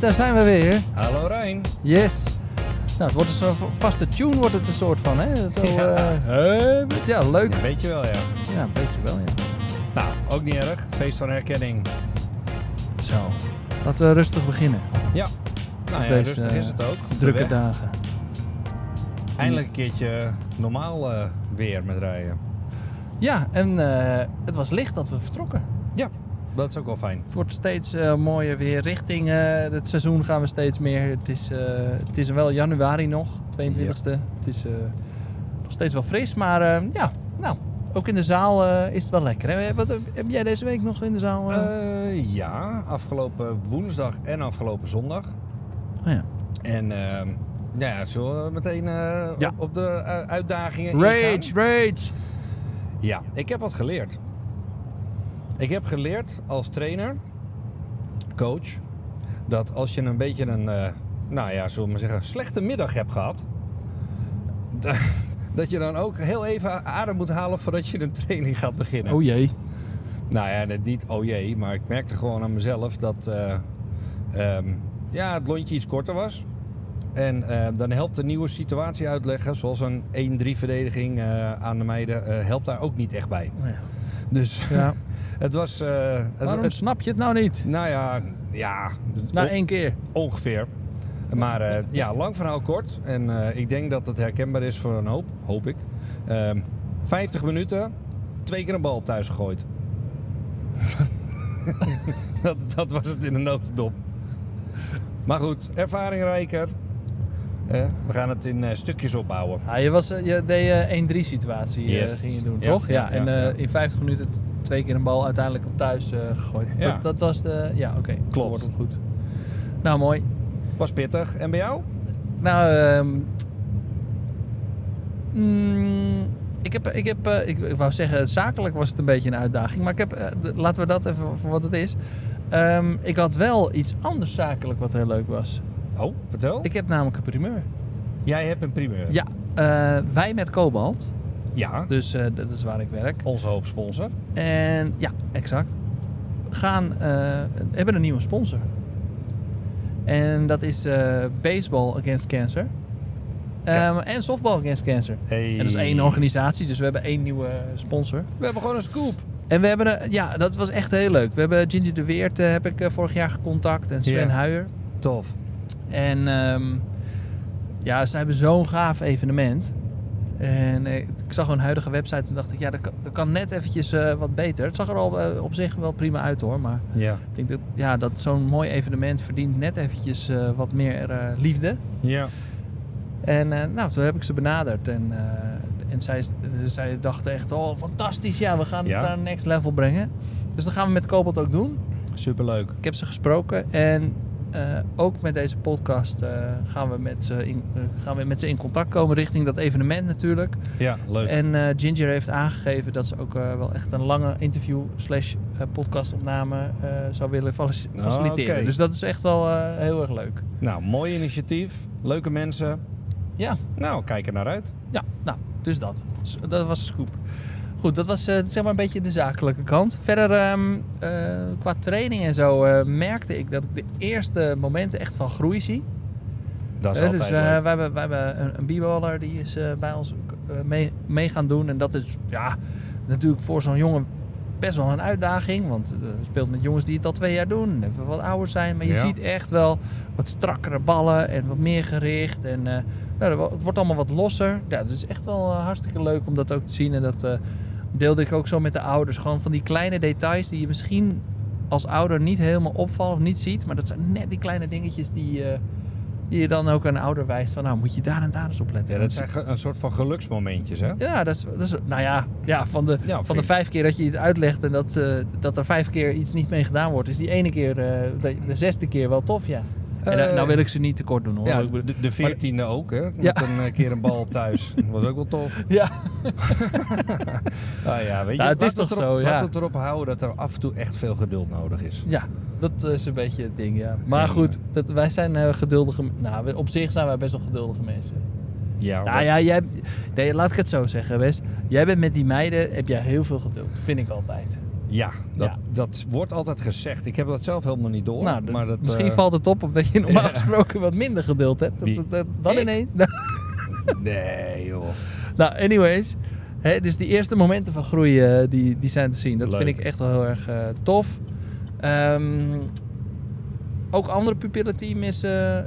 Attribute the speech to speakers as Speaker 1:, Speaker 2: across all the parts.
Speaker 1: daar zijn we weer.
Speaker 2: Hallo Rijn.
Speaker 1: Yes. Nou, het wordt dus een vaste tune, wordt het een soort van, hè? Zo,
Speaker 2: ja.
Speaker 1: eh,
Speaker 2: Hup.
Speaker 1: ja, leuk.
Speaker 2: Weet je wel, ja.
Speaker 1: Ja, een beetje wel, ja.
Speaker 2: Nou, ook niet erg. Feest van herkenning.
Speaker 1: Zo. Laten we rustig beginnen.
Speaker 2: Ja. Nou ja,
Speaker 1: Deze,
Speaker 2: rustig is het ook. Op de
Speaker 1: eh, Drukke
Speaker 2: weg.
Speaker 1: dagen.
Speaker 2: Eindelijk een keertje normaal eh, weer met rijden.
Speaker 1: Ja, en eh, het was licht dat we vertrokken.
Speaker 2: Ja, dat is ook wel fijn.
Speaker 1: Het wordt steeds eh, mooier weer richting eh, het seizoen gaan we steeds meer. Het is, eh, het is wel januari nog, 22e. Het is eh, nog steeds wel fris, maar eh, ja, nou, ook in de zaal eh, is het wel lekker. Hè? Wat, eh, heb jij deze week nog in de zaal? eh?
Speaker 2: Eh, ja, afgelopen woensdag en afgelopen zondag.
Speaker 1: Oh ja.
Speaker 2: En ehm, nou ja, zullen we meteen eh,
Speaker 1: Ja.
Speaker 2: op, op de eh, uitdagingen ingaan?
Speaker 1: Rage, rage!
Speaker 2: Ja, ik heb wat geleerd. Ik heb geleerd als trainer, coach, dat als je een beetje een, eh, nou ja, zullen we maar zeggen, slechte middag hebt gehad, d- dat je dan ook heel even adem moet halen voordat je een training gaat beginnen.
Speaker 1: Oh jee.
Speaker 2: Nou ja, net niet oh jee, maar ik merkte gewoon aan mezelf dat eh, ehm, ja, het lontje iets korter was. En eh, dan helpt de nieuwe situatie uitleggen, zoals een 1-3 verdediging eh, aan de meiden, eh, helpt daar ook niet echt bij.
Speaker 1: Oh ja.
Speaker 2: Dus
Speaker 1: Ja.
Speaker 2: het was. eh, het,
Speaker 1: Waarom
Speaker 2: het-
Speaker 1: snap je het Oh. nou niet?
Speaker 2: nou ja, ja het-
Speaker 1: Na
Speaker 2: on-
Speaker 1: één keer.
Speaker 2: ongeveer. Maar eh, ja, lang verhaal kort. En eh, ik denk dat het herkenbaar is voor een hoop, hoop ik. Ehm 50 minuten, twee keer een bal op thuis gegooid. dat, dat was het in de notendop. Maar goed, ervaring rijker. Eh, we gaan het in eh, stukjes opbouuen.
Speaker 1: Ja, je, was, eh, je deed eh 1-3 situatie eh,
Speaker 2: Yes.
Speaker 1: ging je doen,
Speaker 2: Ja,
Speaker 1: toch? Ja,
Speaker 2: ja,
Speaker 1: en
Speaker 2: ja,
Speaker 1: eh,
Speaker 2: ja.
Speaker 1: in 50 minuten t- twee keer een bal uiteindelijk op thuis eh, gegooid.
Speaker 2: Ja.
Speaker 1: Dat, dat was de... Ja, oké.
Speaker 2: Klopt.
Speaker 1: Wordt het goed. Nou, mooi.
Speaker 2: Was pittig. En bij jou?
Speaker 1: Nou, ehm, mm, ik heb... Ik, heb eh, ik, ik wou zeggen, zakelijk was het een beetje een uitdaging. Maar ik heb... eh, d- laten we dat even voor wat het is. Ehm, ik had wel iets anders zakelijk wat heel leuk was.
Speaker 2: Oh, vertel.
Speaker 1: Ik heb namelijk een primeur.
Speaker 2: Jij hebt een primeur.
Speaker 1: Ja, eh, wij met Cobalt.
Speaker 2: ja.
Speaker 1: Dus eh, dat is waar ik werk.
Speaker 2: Onze hoofdsponsor.
Speaker 1: En ja, exact. Gaan, eh, hebben een nieuwe sponsor. En dat is eh, Baseball Against Cancer. Ehm, En Softball Against Cancer.
Speaker 2: Hey.
Speaker 1: En dat is één organisatie, dus we hebben één nieuwe sponsor.
Speaker 2: We hebben gewoon een scoop.
Speaker 1: En we hebben, eh, ja, dat was echt heel leuk. We hebben Ginger de Weert, eh, heb ik eh, vorig jaar gecontact. En Sven
Speaker 2: Ja.
Speaker 1: Huijer.
Speaker 2: Tof.
Speaker 1: En ehm, ja, ze hebben zo'n gaaf evenement. En eh, ik zag hun huidige website en dacht ik, ja, dat kan, dat kan net eventjes eh, wat beter. Het zag er al eh, op zich wel prima uit hoor. Maar
Speaker 2: Ja.
Speaker 1: ik denk dat, ja, dat zo'n mooi evenement verdient net eventjes eh, wat meer eh, liefde.
Speaker 2: Ja.
Speaker 1: En eh, nou, toen heb ik ze benaderd. En, eh, en zij, zij dachten echt, oh fantastisch, ja, we gaan
Speaker 2: Ja.
Speaker 1: het naar een next level brengen. Dus dat gaan we met Cobalt ook doen.
Speaker 2: Superleuk.
Speaker 1: Ik heb ze gesproken en eh, ook met deze podcast eh, gaan, we met ze in, eh, gaan we met ze in contact komen richting dat evenement natuurlijk.
Speaker 2: Ja, leuk.
Speaker 1: En eh, Ginger heeft aangegeven dat ze ook eh, wel echt een lange interview slash eh, podcastopname eh, zou willen faci-
Speaker 2: Ah,
Speaker 1: faciliteren.
Speaker 2: oké.
Speaker 1: Dus dat is echt wel eh, heel erg leuk.
Speaker 2: Nou, mooi initiatief. Leuke mensen.
Speaker 1: Ja,
Speaker 2: Nou, kijk er naar uit.
Speaker 1: ja, nou, dus dat. Dus Dat was de scoop. Goed, dat was eh, zeg maar een beetje de zakelijke kant. Verder, ehm, eh, qua training en zo, eh, merkte ik dat ik de eerste momenten echt van groei zie.
Speaker 2: Dat is
Speaker 1: Eh,
Speaker 2: altijd
Speaker 1: dus eh,
Speaker 2: leuk.
Speaker 1: wij hebben, wij hebben een, een b-baller die is eh, bij ons ook, eh, mee, mee gaan doen. En dat is ja, natuurlijk voor zo'n jongen best wel een uitdaging. Want eh, je speelt met jongens die het al twee jaar doen. Even wat ouder zijn. Maar je
Speaker 2: Ja.
Speaker 1: ziet echt wel wat strakkere ballen en wat meer gericht. En eh, nou, het wordt allemaal wat losser. Ja, het is echt wel eh, hartstikke leuk om dat ook te zien. En dat eh, deelde ik ook zo met de ouders. Gewoon van die kleine details die je misschien als ouder niet helemaal opvallen of niet ziet. Maar dat zijn net die kleine dingetjes die... eh, die je dan ook aan een ouder wijst van, nou moet je daar en daar eens op letten.
Speaker 2: Ja, dat zijn ge- een soort van geluksmomentjes, hè?
Speaker 1: Ja, dat is, dat is- nou ja, ja van, de,
Speaker 2: Ja,
Speaker 1: van
Speaker 2: vind
Speaker 1: de
Speaker 2: ik.
Speaker 1: vijf keer dat je iets uitlegt en dat, eh, dat er vijf keer iets niet mee gedaan wordt, is die ene keer, eh, de, de zesde keer wel tof, ja. En eh,
Speaker 2: Eh,
Speaker 1: nou wil ik ze niet tekort doen hoor.
Speaker 2: Ja,
Speaker 1: Ik bedoel-
Speaker 2: de- de veertiende ook, hè? Met
Speaker 1: Ja.
Speaker 2: een eh, keer een bal op thuis. Dat was ook wel tof.
Speaker 1: ja.
Speaker 2: Ah ja, weet je.
Speaker 1: Nou, het is
Speaker 2: laat
Speaker 1: toch
Speaker 2: erop-
Speaker 1: zo, ja.
Speaker 2: Laat het erop houden dat er af en toe echt veel geduld nodig is.
Speaker 1: ja, dat eh, is een beetje het ding, ja. Maar
Speaker 2: Ja.
Speaker 1: goed, dat, wij zijn eh, geduldige, nou we- op zich zijn wij best wel geduldige mensen.
Speaker 2: Ja,
Speaker 1: Nou ja, jij, nee, laat ik het zo zeggen Wes. Jij bent met die meiden, heb jij heel veel geduld, vind ik altijd.
Speaker 2: Ja, dat,
Speaker 1: Ja.
Speaker 2: dat wordt altijd gezegd. Ik heb dat zelf helemaal niet door.
Speaker 1: nou, dat-
Speaker 2: maar dat,
Speaker 1: misschien
Speaker 2: eh,
Speaker 1: valt het op omdat je normaal gesproken wat minder geduld hebt. Dat,
Speaker 2: Wie?
Speaker 1: dat- dat- dan
Speaker 2: Ik?
Speaker 1: ineens.
Speaker 2: Nee, joh.
Speaker 1: nou, anyways. Hè, dus die eerste momenten van groei eh, die, die zijn te zien. Dat
Speaker 2: Leuk.
Speaker 1: vind ik echt wel heel erg eh, tof. Ehm, ook andere pupillenteam is eh,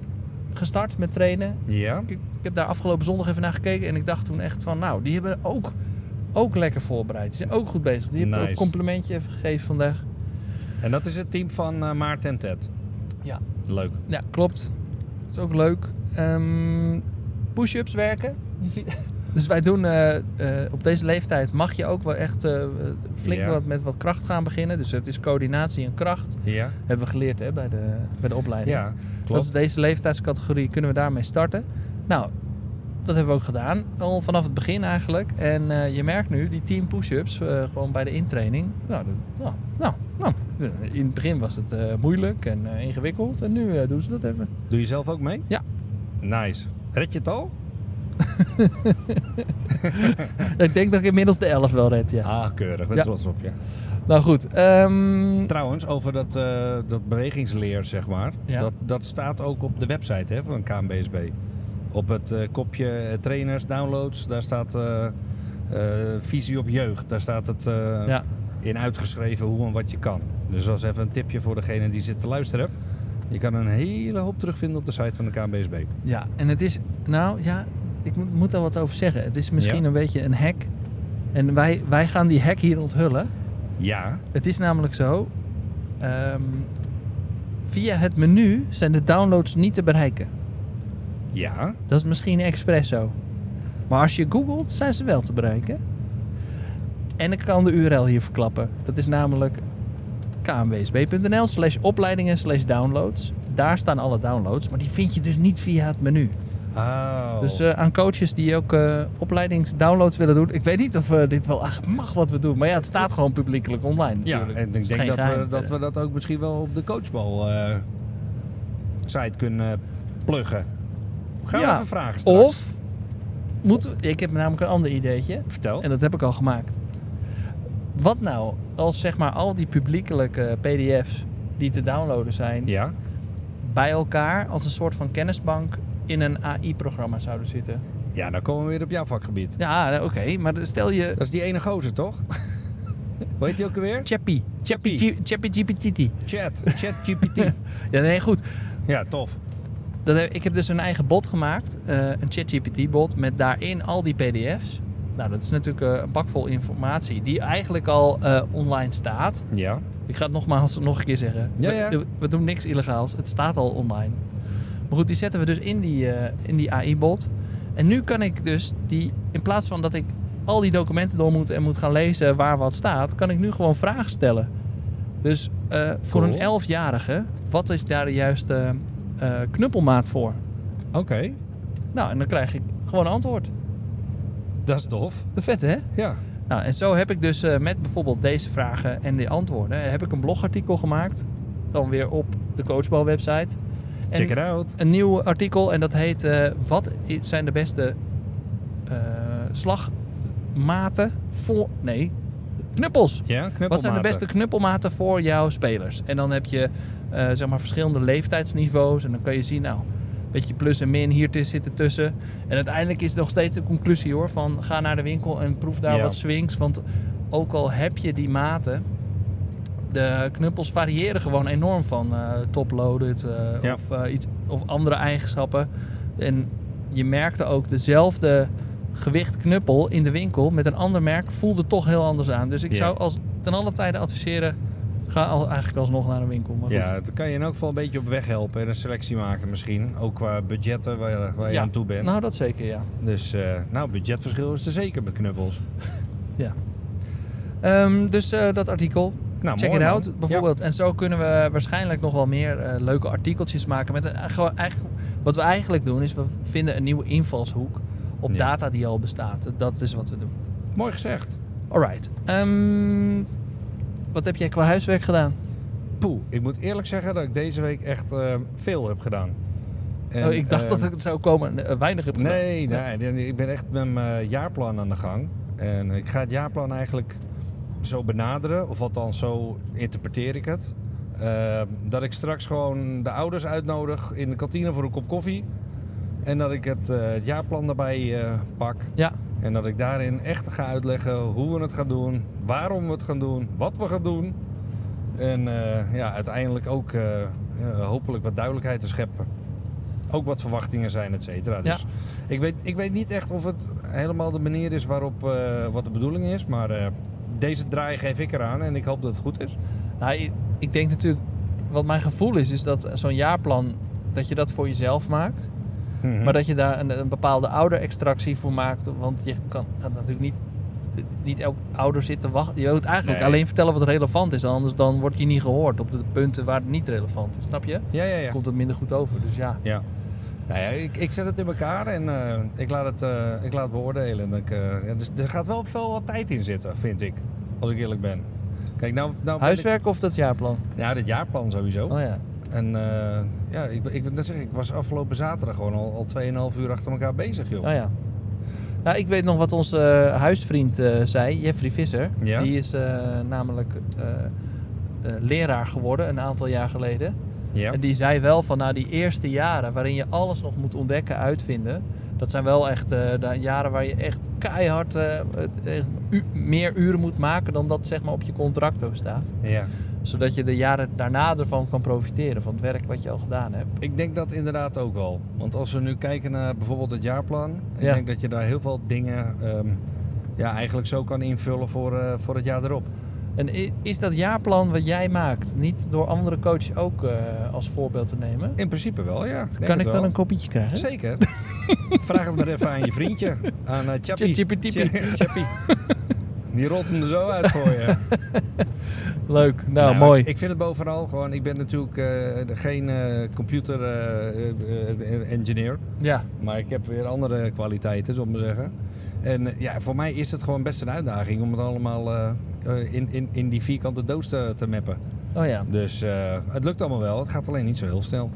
Speaker 1: gestart met trainen.
Speaker 2: Ja.
Speaker 1: Ik, ik heb daar afgelopen zondag even naar gekeken. En ik dacht toen echt van, nou, die hebben ook, ook lekker voorbereid. Die zijn ook goed bezig. Die hebben ook een
Speaker 2: Nice.
Speaker 1: complimentje even gegeven vandaag.
Speaker 2: En dat is het team van eh, Maarten en Ted.
Speaker 1: Ja.
Speaker 2: Leuk.
Speaker 1: Ja, klopt. Dat is ook leuk. Ehm, Push-ups werken. Dus wij doen eh, eh, op deze leeftijd mag je ook wel echt eh, flink
Speaker 2: Ja.
Speaker 1: wat met wat kracht gaan beginnen. Dus het is coördinatie en kracht.
Speaker 2: Ja.
Speaker 1: Hebben we geleerd hè, bij, de, bij de opleiding.
Speaker 2: Ja,
Speaker 1: dat is
Speaker 2: klopt.
Speaker 1: deze leeftijdscategorie, kunnen we daarmee starten. Nou, dat hebben we ook gedaan. Al vanaf het begin eigenlijk. En eh, je merkt nu, die 10 push-ups, eh, gewoon bij de intraining. Nou, dat- nou, nou, nou, in het begin was het eh, moeilijk en eh, ingewikkeld. En nu eh, doen ze dat even.
Speaker 2: Doe je zelf ook mee?
Speaker 1: Ja.
Speaker 2: Nice. Red je het al?
Speaker 1: Ik denk dat ik inmiddels de 11 wel red, ja.
Speaker 2: Ah, keurig. Ben
Speaker 1: Ja.
Speaker 2: trots op je.
Speaker 1: Nou goed, ehm,
Speaker 2: Trouwens, over dat, eh, dat bewegingsleer, zeg maar.
Speaker 1: Ja.
Speaker 2: Dat, dat staat ook op de website hè, van KNBSB. Op het eh, kopje eh, trainers, downloads, daar staat eh, eh, visie op jeugd. Daar staat het eh,
Speaker 1: ja,
Speaker 2: in uitgeschreven hoe en wat je kan. Dus dat is even een tipje voor degene die zit te luisteren. Je kan een hele hoop terugvinden op de site van de KNBSB.
Speaker 1: ja, en het is, nou ja, ik moet, moet daar wat over zeggen. Het is misschien
Speaker 2: Ja.
Speaker 1: een beetje een hack. En wij, wij gaan die hack hier onthullen.
Speaker 2: Ja,
Speaker 1: Het is namelijk zo, ehm, via het menu zijn de downloads niet te bereiken.
Speaker 2: ja.
Speaker 1: Dat is misschien expres zo. Maar als je googelt, zijn ze wel te bereiken. En ik kan de URL hier verklappen. Dat is namelijk knwsb.nl slash opleidingen slash downloads. Daar staan alle downloads, maar die vind je dus niet via het menu.
Speaker 2: Oh.
Speaker 1: Dus eh, aan coaches die ook eh, opleidingsdownloads willen doen. Ik weet niet of eh, dit wel echt mag wat we doen. Maar ja, het staat gewoon publiekelijk online
Speaker 2: ja,
Speaker 1: natuurlijk.
Speaker 2: en
Speaker 1: Dus
Speaker 2: ik
Speaker 1: het is
Speaker 2: denk
Speaker 1: geen
Speaker 2: dat we,
Speaker 1: geheim
Speaker 2: dat we
Speaker 1: verder.
Speaker 2: dat ook misschien wel op de coachbal eh, site kunnen pluggen. Gaan we
Speaker 1: Ja.
Speaker 2: even vragen straks.
Speaker 1: Of, moeten we, ik heb namelijk een ander ideetje.
Speaker 2: Vertel.
Speaker 1: En dat heb ik al gemaakt. Wat nou als zeg maar al die publiekelijke PDF's die te downloaden zijn,
Speaker 2: Ja.
Speaker 1: bij elkaar als een soort van kennisbank in een AI-programma zouden zitten?
Speaker 2: ja, dan komen we weer op jouw vakgebied.
Speaker 1: Ja, nou, oké, maar stel je.
Speaker 2: Dat is die ene gozer, toch? Hoe heet die ook alweer?
Speaker 1: Chappie.
Speaker 2: Chappie.
Speaker 1: Chappie. Chappie GPT.
Speaker 2: Chat. Chat GPT.
Speaker 1: Ja, nee, goed.
Speaker 2: ja, tof.
Speaker 1: Dat heb- ik heb dus een eigen bot gemaakt, eh, een ChatGPT-bot, met daarin al die PDF's. Nou, dat is natuurlijk eh, een bak vol informatie die eigenlijk al eh, online staat.
Speaker 2: Ja.
Speaker 1: Ik ga het nogmaals nog een keer zeggen.
Speaker 2: Ja, ja.
Speaker 1: We, we doen niks illegaals. Het staat al online. Maar goed, die zetten we dus in die, eh, in die AI-bot. En nu kan ik dus die, in plaats van dat ik al die documenten door moet en moet gaan lezen waar wat staat, kan ik nu gewoon vragen stellen. Dus eh, voor
Speaker 2: Cool.
Speaker 1: een elfjarige, wat is daar de juiste eh, knuppelmaat voor?
Speaker 2: Oké.
Speaker 1: Nou, en dan krijg ik gewoon een antwoord.
Speaker 2: Dat is tof.
Speaker 1: De vette, hè?
Speaker 2: Ja.
Speaker 1: Nou, en zo heb ik dus eh, met bijvoorbeeld deze vragen en die antwoorden... eh, heb ik een blogartikel gemaakt. Dan weer op de Coachbal-website. En
Speaker 2: Check it out.
Speaker 1: een nieuw artikel en dat heet... eh, wat i- zijn de beste eh, slagmaten voor... Nee, knuppels.
Speaker 2: Ja, knuppelmaten.
Speaker 1: Wat zijn de beste knuppelmaten voor jouw spelers? En dan heb je eh, zeg maar verschillende leeftijdsniveaus. En dan kan je zien, nou, een beetje plus en min hier tussen zitten tussen. En uiteindelijk is nog steeds de conclusie hoor: van ga naar de winkel en proef daar
Speaker 2: Ja.
Speaker 1: wat swings. Want ook al heb je die maten. De knuppels variëren gewoon enorm van eh toploaded eh,
Speaker 2: Ja.
Speaker 1: of, eh, iets, of andere eigenschappen. En je merkte ook dezelfde gewicht knuppel in de winkel met een ander merk voelde toch heel anders aan. Dus ik
Speaker 2: Ja.
Speaker 1: zou als, ten alle tijde adviseren, ga al, eigenlijk alsnog naar een winkel. Maar goed.
Speaker 2: Ja, dat kan je in elk geval een beetje op weg helpen en een selectie maken misschien. Ook qua budgetten waar, waar je
Speaker 1: Ja.
Speaker 2: aan toe bent.
Speaker 1: Nou, dat zeker, ja.
Speaker 2: Dus eh, nou, budgetverschil is er zeker met knuppels.
Speaker 1: ja. Ehm, dus eh, dat artikel,
Speaker 2: Nou,
Speaker 1: check
Speaker 2: mooi,
Speaker 1: it
Speaker 2: man.
Speaker 1: out bijvoorbeeld. En zo kunnen we waarschijnlijk nog wel meer eh, leuke artikeltjes maken. Met een, eh, gewoon eigenlijk, wat we eigenlijk doen is, we vinden een nieuwe invalshoek op
Speaker 2: Ja.
Speaker 1: data die al bestaat. Dat is wat we doen.
Speaker 2: Ja, mooi gezegd.
Speaker 1: Alright. Ehm, wat heb jij qua huiswerk gedaan?
Speaker 2: Poeh, ik moet eerlijk zeggen dat ik deze week echt eh, veel heb gedaan. En,
Speaker 1: oh, ik dacht
Speaker 2: eh,
Speaker 1: dat het zou komen. eh, Weinig heb gedaan.
Speaker 2: Nee, eh, nee, nee, ik ben echt met mijn jaarplan aan de gang. En ik ga het jaarplan eigenlijk zo benaderen, of althans zo interpreteer ik het. eh, dat ik straks gewoon de ouders uitnodig in de kantine voor een kop koffie. En dat ik het, eh, het jaarplan daarbij eh, pak.
Speaker 1: Ja,
Speaker 2: En dat ik daarin echt ga uitleggen hoe we het gaan doen, waarom we het gaan doen, wat we gaan doen. En eh, ja, uiteindelijk ook eh, eh, hopelijk wat duidelijkheid te scheppen. Ook wat verwachtingen zijn, et cetera. Dus ik, weet, ik weet niet echt of het helemaal de manier is waarop eh, wat de bedoeling is. Maar eh, deze draai geef ik eraan en ik hoop dat het goed is.
Speaker 1: nou, ik, ik denk natuurlijk, wat mijn gevoel is, is dat zo'n jaarplan, dat je dat voor jezelf maakt.
Speaker 2: Hm.
Speaker 1: Maar dat je daar een, een bepaalde ouderextractie voor maakt. Want je kan, gaat natuurlijk niet, niet elk ouder zitten wachten. Je wilt eigenlijk
Speaker 2: Nee.
Speaker 1: alleen vertellen wat relevant is. Anders dan word je niet gehoord op de punten waar het niet relevant is. Snap je?
Speaker 2: Ja, ja, ja.
Speaker 1: Komt het minder goed over. Dus ja.
Speaker 2: Ja. Nou ja, ik, ik zet het in elkaar en eh, ik, laat het, eh, ik laat het beoordelen. En ik, eh, ja, dus er gaat wel veel wat tijd in zitten, vind ik. Als ik eerlijk ben. Kijk, nou, nou ben
Speaker 1: Huiswerk of dat jaarplan?
Speaker 2: Ik, ja, dit jaarplan sowieso.
Speaker 1: Oh ja.
Speaker 2: En eh, ja, ik, ik, wil net zeggen, ik was afgelopen zaterdag gewoon al, al 2,5 uur achter elkaar bezig, joh.
Speaker 1: Oh ja. Nou, ik weet nog wat onze eh, huisvriend eh, zei, Jeffrey Visser.
Speaker 2: Ja.
Speaker 1: Die is eh, namelijk eh, eh, leraar geworden een aantal jaar geleden.
Speaker 2: Ja.
Speaker 1: En die zei wel van na die eerste jaren waarin je alles nog moet ontdekken, uitvinden. Dat zijn wel echt eh, de jaren waar je echt keihard eh, het- echt u- meer uren moet maken dan dat zeg maar op je contract ook staat.
Speaker 2: ja.
Speaker 1: Zodat je de jaren daarna ervan kan profiteren, van het werk wat je al gedaan hebt.
Speaker 2: Ik denk dat inderdaad ook wel. Want als we nu kijken naar bijvoorbeeld het jaarplan. Ik
Speaker 1: Ja.
Speaker 2: denk dat je daar heel veel dingen ehm, ja, eigenlijk zo kan invullen voor, eh, voor het jaar erop.
Speaker 1: En i- is dat jaarplan wat jij maakt, niet door andere coaches ook eh, als voorbeeld te nemen?
Speaker 2: In principe wel, ja. denk
Speaker 1: kan
Speaker 2: het
Speaker 1: ik wel een kopietje krijgen?
Speaker 2: Zeker. Vraag het maar even aan je vriendje. Aan eh Chappie.
Speaker 1: Tjippie-tippie.
Speaker 2: Tja- Chappie. Die rolt hem er zo uit voor je.
Speaker 1: Leuk, nou,
Speaker 2: maar
Speaker 1: mooi.
Speaker 2: Ik, ik vind het bovenal gewoon... Ik ben natuurlijk eh, de- geen computer-engineer.
Speaker 1: ja,
Speaker 2: maar ik heb weer andere kwaliteiten, zal ik maar zeggen. En eh, ja, voor mij is het gewoon best een uitdaging... om het allemaal eh, eh, in, in, in die vierkante doos te, te mappen.
Speaker 1: oh ja.
Speaker 2: Dus eh, het lukt allemaal wel. Het gaat alleen niet zo heel snel.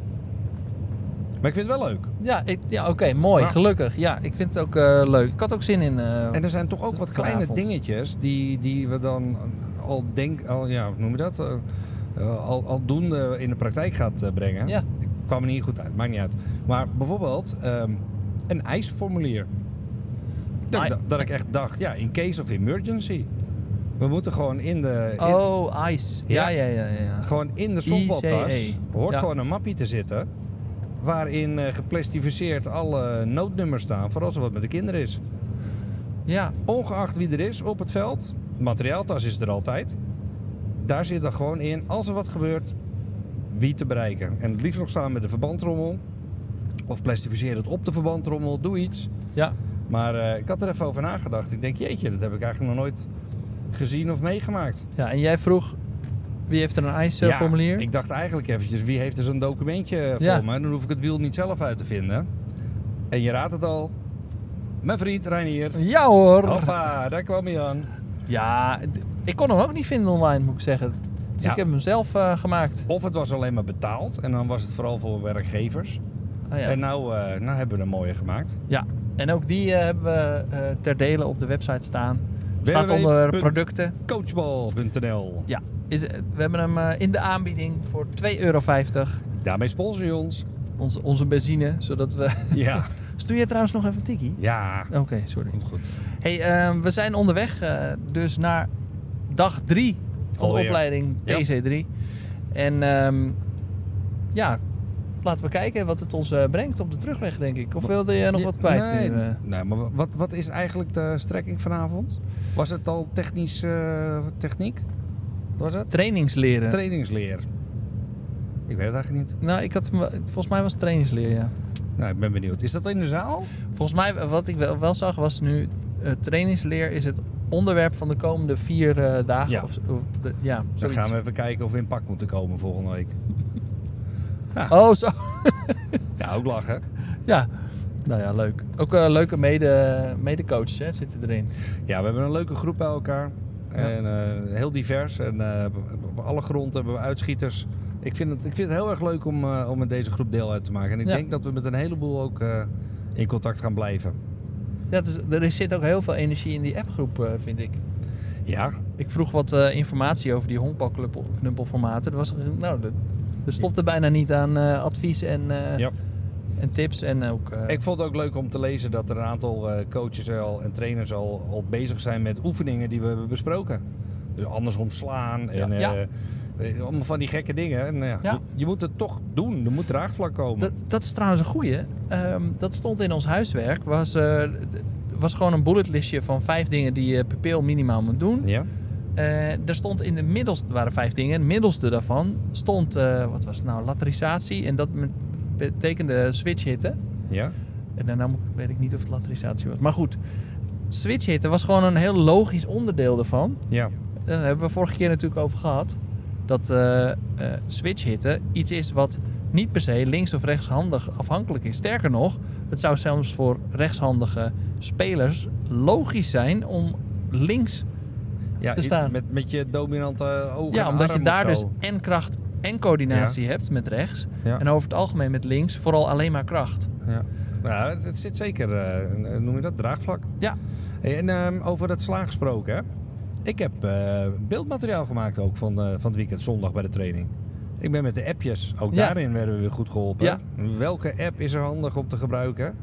Speaker 2: Maar ik vind het wel leuk.
Speaker 1: Ja, ik- ja oké, mooi,
Speaker 2: Ja.
Speaker 1: gelukkig. Ja, ik vind het ook eh, leuk. Ik had ook zin in... eh,
Speaker 2: En er zijn toch ook wat kleine
Speaker 1: Vanavond.
Speaker 2: dingetjes die, die we dan al denk, al, ja, hoe noem je dat? Eh, eh, al, al doende in de praktijk gaat eh, brengen.
Speaker 1: ja.
Speaker 2: Ik kwam er niet goed uit, maakt niet uit. Maar bijvoorbeeld ehm, een ijsformulier. Dat, ik
Speaker 1: I-
Speaker 2: da- dat ik echt dacht, ja, in case of emergency. We moeten gewoon in de, in-
Speaker 1: Oh, ice. Ja,
Speaker 2: Ja.
Speaker 1: ja, ja, ja. ja.
Speaker 2: gewoon in de softbaltas
Speaker 1: ICE.
Speaker 2: hoort
Speaker 1: E. Ja.
Speaker 2: gewoon een mappie te zitten. Waarin eh, geplastificeerd alle noodnummers staan voor als er wat met de kinderen is.
Speaker 1: Ja,
Speaker 2: Ongeacht wie er is op het veld, materiaaltas is er altijd. Daar zit dan gewoon in, als er wat gebeurt, wie te bereiken. En het liefst nog samen met de verbandrommel. Of plastificeer het op de verbandrommel, doe iets.
Speaker 1: ja.
Speaker 2: Maar eh, ik had er even over nagedacht. Ik denk, jeetje, dat heb ik eigenlijk nog nooit gezien of meegemaakt.
Speaker 1: ja. En jij vroeg, wie heeft er een eh,
Speaker 2: Ja,
Speaker 1: ICE-formulier?
Speaker 2: ik dacht eigenlijk eventjes, wie heeft er zo'n documentje voor
Speaker 1: Ja.
Speaker 2: me? Dan hoef ik het wiel niet zelf uit te vinden. En je raadt het al, mijn vriend Reinier.
Speaker 1: Ja hoor.
Speaker 2: Oh, Hoppa, daar kwam hij aan.
Speaker 1: Ja, d- ik kon hem ook niet vinden online, moet ik zeggen. Dus
Speaker 2: Ja.
Speaker 1: ik heb hem zelf eh, gemaakt.
Speaker 2: Of het was alleen maar betaald en dan was het vooral voor werkgevers.
Speaker 1: Ah, ja.
Speaker 2: En
Speaker 1: En,
Speaker 2: nou, eh, nou hebben we een mooie gemaakt.
Speaker 1: ja. en ook die eh, hebben we eh, ter dele op de website staan. Staat
Speaker 2: www.
Speaker 1: onder producten.
Speaker 2: Coachbal.nl.
Speaker 1: Ja, is, eh, we hebben hem eh, in de aanbieding voor 2,50 euro.
Speaker 2: Daarmee sponsor je ons.
Speaker 1: Onze, onze benzine, zodat we...
Speaker 2: Ja.
Speaker 1: Stuur je trouwens nog even een tikkie?
Speaker 2: Ja.
Speaker 1: Oké, sorry.
Speaker 2: Komt goed.
Speaker 1: Hey, ehm, we zijn onderweg eh, dus naar dag 3 van
Speaker 2: Alweer.
Speaker 1: de opleiding
Speaker 2: Ja.
Speaker 1: TC3. En ehm, ja, laten we kijken wat het ons eh, brengt op de terugweg, denk ik. Of wilde je nog wat kwijt
Speaker 2: nee,
Speaker 1: nu? eh?
Speaker 2: nee, maar wat, wat is eigenlijk de strekking vanavond? Was het al technisch, eh, techniek? Wat was het?
Speaker 1: trainingsleren.
Speaker 2: Trainingsleer. Ik weet het eigenlijk niet.
Speaker 1: nou, ik had, me- volgens mij was het trainingsleer, ja.
Speaker 2: Nou, ik ben benieuwd. Is dat in de zaal?
Speaker 1: Volgens mij, wat ik wel, wel zag, was nu... eh, trainingsleer is het onderwerp van de komende vier eh, dagen.
Speaker 2: Ja.
Speaker 1: Of, zo- of de- ja,
Speaker 2: Dan
Speaker 1: zoiets.
Speaker 2: gaan we even kijken of we in pak moeten komen volgende week.
Speaker 1: Oh, zo.
Speaker 2: Ja, ook lachen.
Speaker 1: Ja. Nou ja, leuk. Ook eh, leuke mede, medecoaches hè, zitten erin.
Speaker 2: Ja, we hebben een leuke groep bij elkaar. En eh, heel divers. En eh, op- op alle grond hebben we uitschieters. Ik vind het, ik vind het heel erg leuk om, eh, om met deze groep deel uit te maken. En ik
Speaker 1: Ja.
Speaker 2: denk dat we met een heleboel ook eh, in contact gaan blijven.
Speaker 1: dus, Ja, het is- er is- zit ook heel veel energie in die appgroep, eh, vind ik.
Speaker 2: Ja,
Speaker 1: Ik vroeg wat eh, informatie over die honkbalknuppelformaten. Er, was, nou, er, er stopte bijna niet aan eh, advies en, eh,
Speaker 2: Ja.
Speaker 1: en tips. En ook, eh,
Speaker 2: ik vond het ook leuk om te lezen dat er een aantal eh, coaches al en trainers al, al bezig zijn met oefeningen die we hebben besproken. Dus andersom slaan en
Speaker 1: Ja.
Speaker 2: eh, eh, allemaal van die gekke dingen. En, eh,
Speaker 1: Ja.
Speaker 2: je, je moet het toch doen, er moet draagvlak komen.
Speaker 1: dat, dat is trouwens een goeie. Ehm, dat stond in ons huiswerk. Was, eh, d- was gewoon een bulletlistje van vijf dingen die je pupil minimaal moet doen.
Speaker 2: Ja?
Speaker 1: Eh, er stond in de middelste, er waren vijf dingen. Het middelste daarvan stond, eh, wat was het nou, laterisatie. En dat met- betekende switch hitten.
Speaker 2: Ja?
Speaker 1: En daarna moet, weet ik niet of het laterisatie was. Maar goed, switch hitten was gewoon een heel logisch onderdeel daarvan.
Speaker 2: Ja.
Speaker 1: Eh, Daar hebben we vorige keer natuurlijk over gehad. Dat eh eh, switch hitten iets is wat niet per se links of rechtshandig afhankelijk is. Sterker nog, het zou zelfs voor rechtshandige spelers logisch zijn om links.
Speaker 2: ja
Speaker 1: Te
Speaker 2: i-
Speaker 1: staan.
Speaker 2: Met, met je dominante ogen
Speaker 1: ja,
Speaker 2: en
Speaker 1: omdat je
Speaker 2: arm
Speaker 1: daar
Speaker 2: of
Speaker 1: dus
Speaker 2: zo.
Speaker 1: en kracht en coördinatie hebt met rechts.
Speaker 2: Ja.
Speaker 1: En over het algemeen met links vooral alleen maar kracht.
Speaker 2: Ja. Nou, het, het zit zeker, eh, noem je dat, draagvlak.
Speaker 1: Ja.
Speaker 2: En ehm, over dat slaan gesproken, hè. ik heb eh, beeldmateriaal gemaakt ook van, eh, van het weekend, zondag bij de training. Ik ben met de appjes, ook
Speaker 1: Ja.
Speaker 2: daarin werden we weer goed geholpen.
Speaker 1: Ja.
Speaker 2: Welke app is er handig om te gebruiken?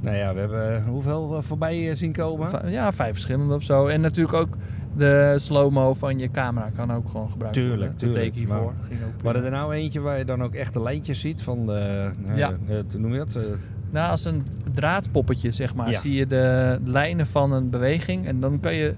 Speaker 2: Nou ja, we hebben eh, hoeveel eh, voorbij eh, zien komen?
Speaker 1: Va- Ja, vijf verschillende of zo. En natuurlijk ook de slow-mo van je camera kan ook gewoon gebruikt
Speaker 2: Tuurlijk,
Speaker 1: worden.
Speaker 2: tuurlijk,
Speaker 1: De take hiervoor. ging ook
Speaker 2: Maar
Speaker 1: prima.
Speaker 2: er er nou eentje waar je dan ook echt de lijntjes ziet van de, eh,
Speaker 1: Ja.
Speaker 2: het- noem je dat? Eh,
Speaker 1: Nou, als een draadpoppetje, zeg maar,
Speaker 2: Ja.
Speaker 1: zie je de lijnen van een beweging. En dan kan je,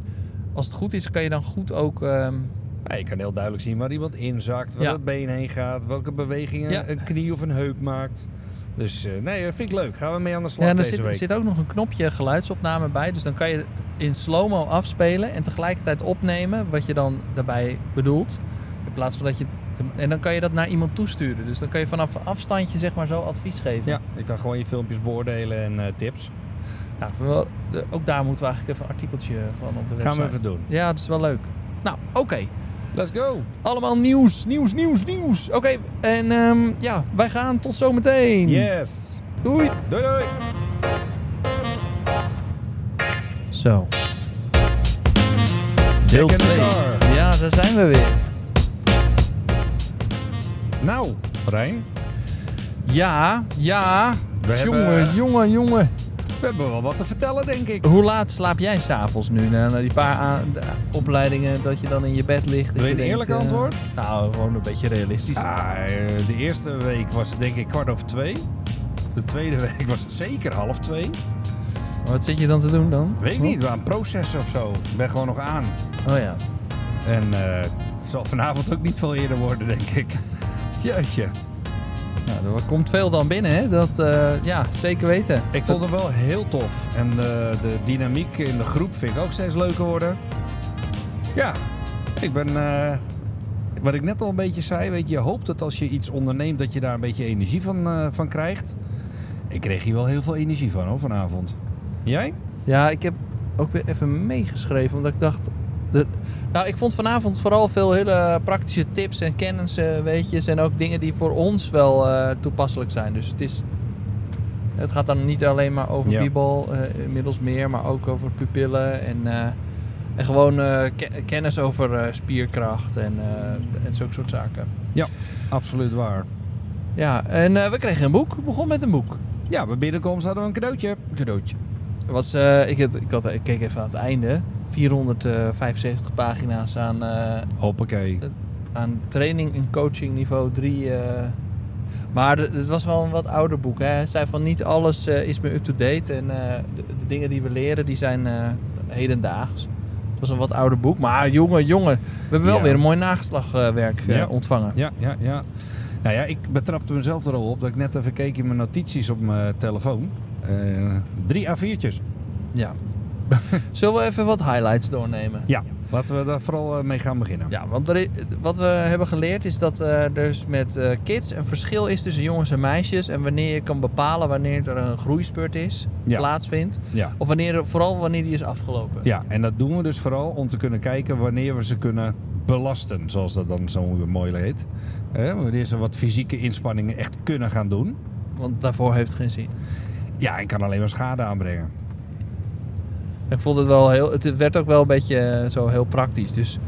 Speaker 1: als het goed is, kan je dan goed ook... ehm,
Speaker 2: Ja, Nou, je kan heel duidelijk zien waar iemand inzakt, waar
Speaker 1: Ja.
Speaker 2: het been heen gaat, welke bewegingen
Speaker 1: Ja.
Speaker 2: een knie of een heup maakt. Dus eh, nee, dat vind ik leuk. Gaan we mee aan de slag
Speaker 1: ja, en er
Speaker 2: deze
Speaker 1: zit,
Speaker 2: week.
Speaker 1: zit ook nog een knopje geluidsopname bij. Dus dan kan je het in slow-mo afspelen en tegelijkertijd opnemen wat je dan daarbij bedoelt. In plaats van dat je... te- en dan kan je dat naar iemand toesturen. Dus dan kan je vanaf een afstandje, zeg maar, zo advies geven.
Speaker 2: Ja, je kan gewoon je filmpjes beoordelen en eh, tips.
Speaker 1: Nou, voor wel- de- ook daar moeten we eigenlijk even een artikeltje van op de website.
Speaker 2: Gaan we even doen.
Speaker 1: Ja, dat is wel leuk. Nou, oké.
Speaker 2: Let's
Speaker 1: Mm.
Speaker 2: go!
Speaker 1: Allemaal nieuws, nieuws, nieuws, nieuws. Oké, en ehm, ja, wij gaan tot zometeen.
Speaker 2: Yes!
Speaker 1: Doei.
Speaker 2: Doei doei!
Speaker 1: Zo. Deel
Speaker 2: Back in the
Speaker 1: 2.
Speaker 2: car.
Speaker 1: Ja, daar zijn we weer.
Speaker 2: Nou, Rijn,
Speaker 1: Ja, ja.
Speaker 2: We
Speaker 1: jongen,
Speaker 2: hebben-
Speaker 1: jongen, jongen.
Speaker 2: we hebben wel wat te vertellen, denk ik.
Speaker 1: Hoe laat slaap jij s'avonds nu? Na na die paar a- de- opleidingen dat je dan in je bed ligt.
Speaker 2: Wil je
Speaker 1: en
Speaker 2: een
Speaker 1: denkt,
Speaker 2: eerlijk
Speaker 1: eh,
Speaker 2: antwoord?
Speaker 1: Nou, gewoon een beetje realistisch.
Speaker 2: Ah, eh, de eerste week was het denk ik kwart over twee. De tweede week was het zeker half twee.
Speaker 1: Wat zit je dan te doen dan?
Speaker 2: Weet ik niet, we aan het processen of zo. Ik ben gewoon nog aan.
Speaker 1: Oh ja.
Speaker 2: En eh, het zal vanavond ook niet veel eerder worden, denk ik. Jeetje.
Speaker 1: Nou, er komt veel dan binnen, hè? Dat, eh, ja, zeker weten.
Speaker 2: Ik vond het wel heel tof. En de, de dynamiek in de groep vind ik ook steeds leuker worden. Ja, ik ben... eh, wat ik net al een beetje zei, weet je, je hoopt dat als je iets onderneemt dat je daar een beetje energie van, eh, van krijgt. Ik kreeg hier wel heel veel energie van hoor, vanavond. Jij?
Speaker 1: Ja, ik heb ook weer even meegeschreven, omdat ik dacht... De, nou, ik vond vanavond vooral veel hele praktische tips en kennis, eh, weetjes... en ook dingen die voor ons wel eh, toepasselijk zijn. Dus het is... Het gaat dan niet alleen maar over
Speaker 2: Ja.
Speaker 1: biebal, eh, inmiddels meer... maar ook over pupillen en, eh, en gewoon eh, ke- kennis over eh, spierkracht en, eh, en zulke soort zaken.
Speaker 2: Absoluut waar.
Speaker 1: Ja, en eh, we kregen een boek. We begonnen met een boek.
Speaker 2: Ja, bij binnenkomst hadden we een cadeautje. Cadeautje.
Speaker 1: Was, eh, ik, had, ik, had, ik keek even aan het einde. 475 pagina's aan, eh,
Speaker 2: Hoppakee.
Speaker 1: aan training en coaching niveau 3. eh. Maar d- het was wel een wat ouder boek. Hè. Hij zei van niet alles eh, is meer up-to-date. En eh, de, de dingen die we leren, die zijn eh, hedendaags. Het was een wat ouder boek. Maar jongen, jongen. We hebben wel
Speaker 2: Ja.
Speaker 1: weer een mooi nageslagwerk eh,
Speaker 2: Ja.
Speaker 1: ontvangen.
Speaker 2: Ja, ja, ja. Nou ja, ik betrapte mezelf er al op dat ik net even keek in mijn notities op mijn telefoon. Eh, drie A4'tjes.
Speaker 1: Ja. Zullen we even wat highlights doornemen?
Speaker 2: Ja, laten we daar vooral eh, mee gaan beginnen.
Speaker 1: Ja, want er i- wat we hebben geleerd is dat eh, er dus met eh, kids een verschil is tussen jongens en meisjes. En wanneer je kan bepalen wanneer er een groeispurt is,
Speaker 2: Ja.
Speaker 1: plaatsvindt.
Speaker 2: ja.
Speaker 1: Of wanneer, vooral wanneer die is afgelopen.
Speaker 2: Ja, en dat doen we dus vooral om te kunnen kijken wanneer we ze kunnen belasten, zoals dat dan zo mooi heet. Eh, wanneer ze wat fysieke inspanningen echt kunnen gaan doen.
Speaker 1: Want daarvoor heeft het geen zin.
Speaker 2: Ja, en kan alleen maar schade aanbrengen.
Speaker 1: Ik vond het wel heel... Het werd ook wel een beetje eh, zo heel praktisch. Dus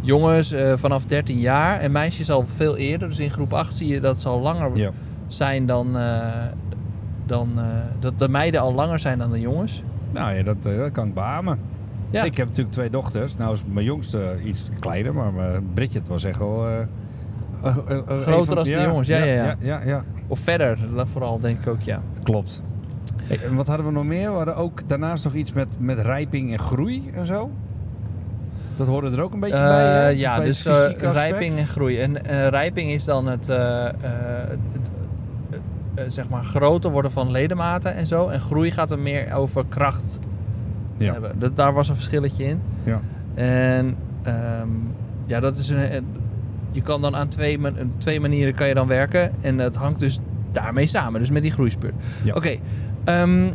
Speaker 1: jongens eh, vanaf 13 jaar en meisjes al veel eerder. Dus in groep 8 zie je dat ze al langer
Speaker 2: Ja.
Speaker 1: zijn dan... eh, dan eh, dat de meiden al langer zijn dan de jongens.
Speaker 2: Nou ja, dat, eh, dat kan ik beamen.
Speaker 1: Ja.
Speaker 2: Ik heb natuurlijk twee dochters. Nou is mijn jongste iets kleiner, maar mijn Bridget was echt wel... eh, eh, eh, een
Speaker 1: Groter
Speaker 2: van-
Speaker 1: als de jongens, ja, ja, ja.
Speaker 2: ja, ja, ja.
Speaker 1: Of verder, dat vooral denk ik ook, ja.
Speaker 2: Klopt. Hey, en wat hadden we nog meer? We hadden ook daarnaast nog iets met, met rijping en groei en zo. Dat hoorde er ook een beetje bij.
Speaker 1: Eh,
Speaker 2: eh,
Speaker 1: ja,
Speaker 2: bij het
Speaker 1: dus eh,
Speaker 2: fysieke aspect.
Speaker 1: rijping en groei. En eh, rijping is dan het, eh, eh, het, eh, eh, zeg maar groter worden van ledematen en zo. En groei gaat er meer over kracht
Speaker 2: Ja.
Speaker 1: hebben. Dat, daar was een verschilletje in.
Speaker 2: Ja.
Speaker 1: En ehm, ja, dat is een, een- je kan dan aan twee, man- een- twee manieren kan je dan werken. En dat hangt dus daarmee samen, dus met die groeispurt.
Speaker 2: Ja.
Speaker 1: Oké, ehm,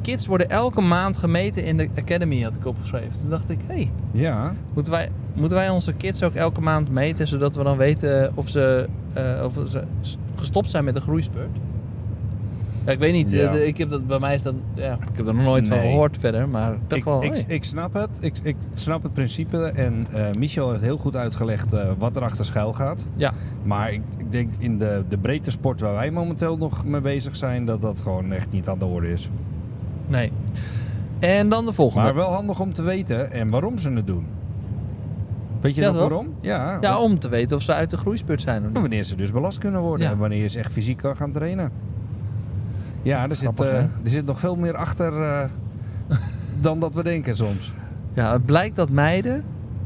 Speaker 1: kids worden elke maand gemeten in de academy, had ik opgeschreven. Toen dacht ik, Hey,
Speaker 2: ja.
Speaker 1: Moeten wij, moeten wij onze kids ook elke maand meten, zodat we dan weten of ze, eh, of ze s- gestopt zijn met de groeispurt? Ja, ik weet niet.
Speaker 2: Ja.
Speaker 1: eh, Ik heb dat, bij mij is dat, ja, ik heb er nog nooit van
Speaker 2: Nee.
Speaker 1: gehoord verder, maar ik dacht
Speaker 2: Ik,
Speaker 1: wel,
Speaker 2: ik,
Speaker 1: hey.
Speaker 2: ik snap het. Ik, ik snap het principe. En eh, Michel heeft heel goed uitgelegd eh, wat er achter schuil gaat.
Speaker 1: Ja.
Speaker 2: Maar ik, ik denk in de, de breedte sport waar wij momenteel nog mee bezig zijn, dat dat gewoon echt niet aan de orde is.
Speaker 1: nee. En dan de volgende.
Speaker 2: Maar wel handig om te weten en waarom ze het doen. Weet je
Speaker 1: Ja,
Speaker 2: nog
Speaker 1: toch?
Speaker 2: waarom? Ja,
Speaker 1: ja, om te weten of ze uit de groeispurt zijn of niet.
Speaker 2: Wanneer ze dus belast kunnen worden
Speaker 1: Ja.
Speaker 2: en wanneer je ze echt fysiek kan gaan trainen. Ja, er, zit,
Speaker 1: Grappig,
Speaker 2: eh,
Speaker 1: hè?
Speaker 2: er zit nog veel meer achter eh, dan dat we denken soms.
Speaker 1: Ja, het blijkt dat meiden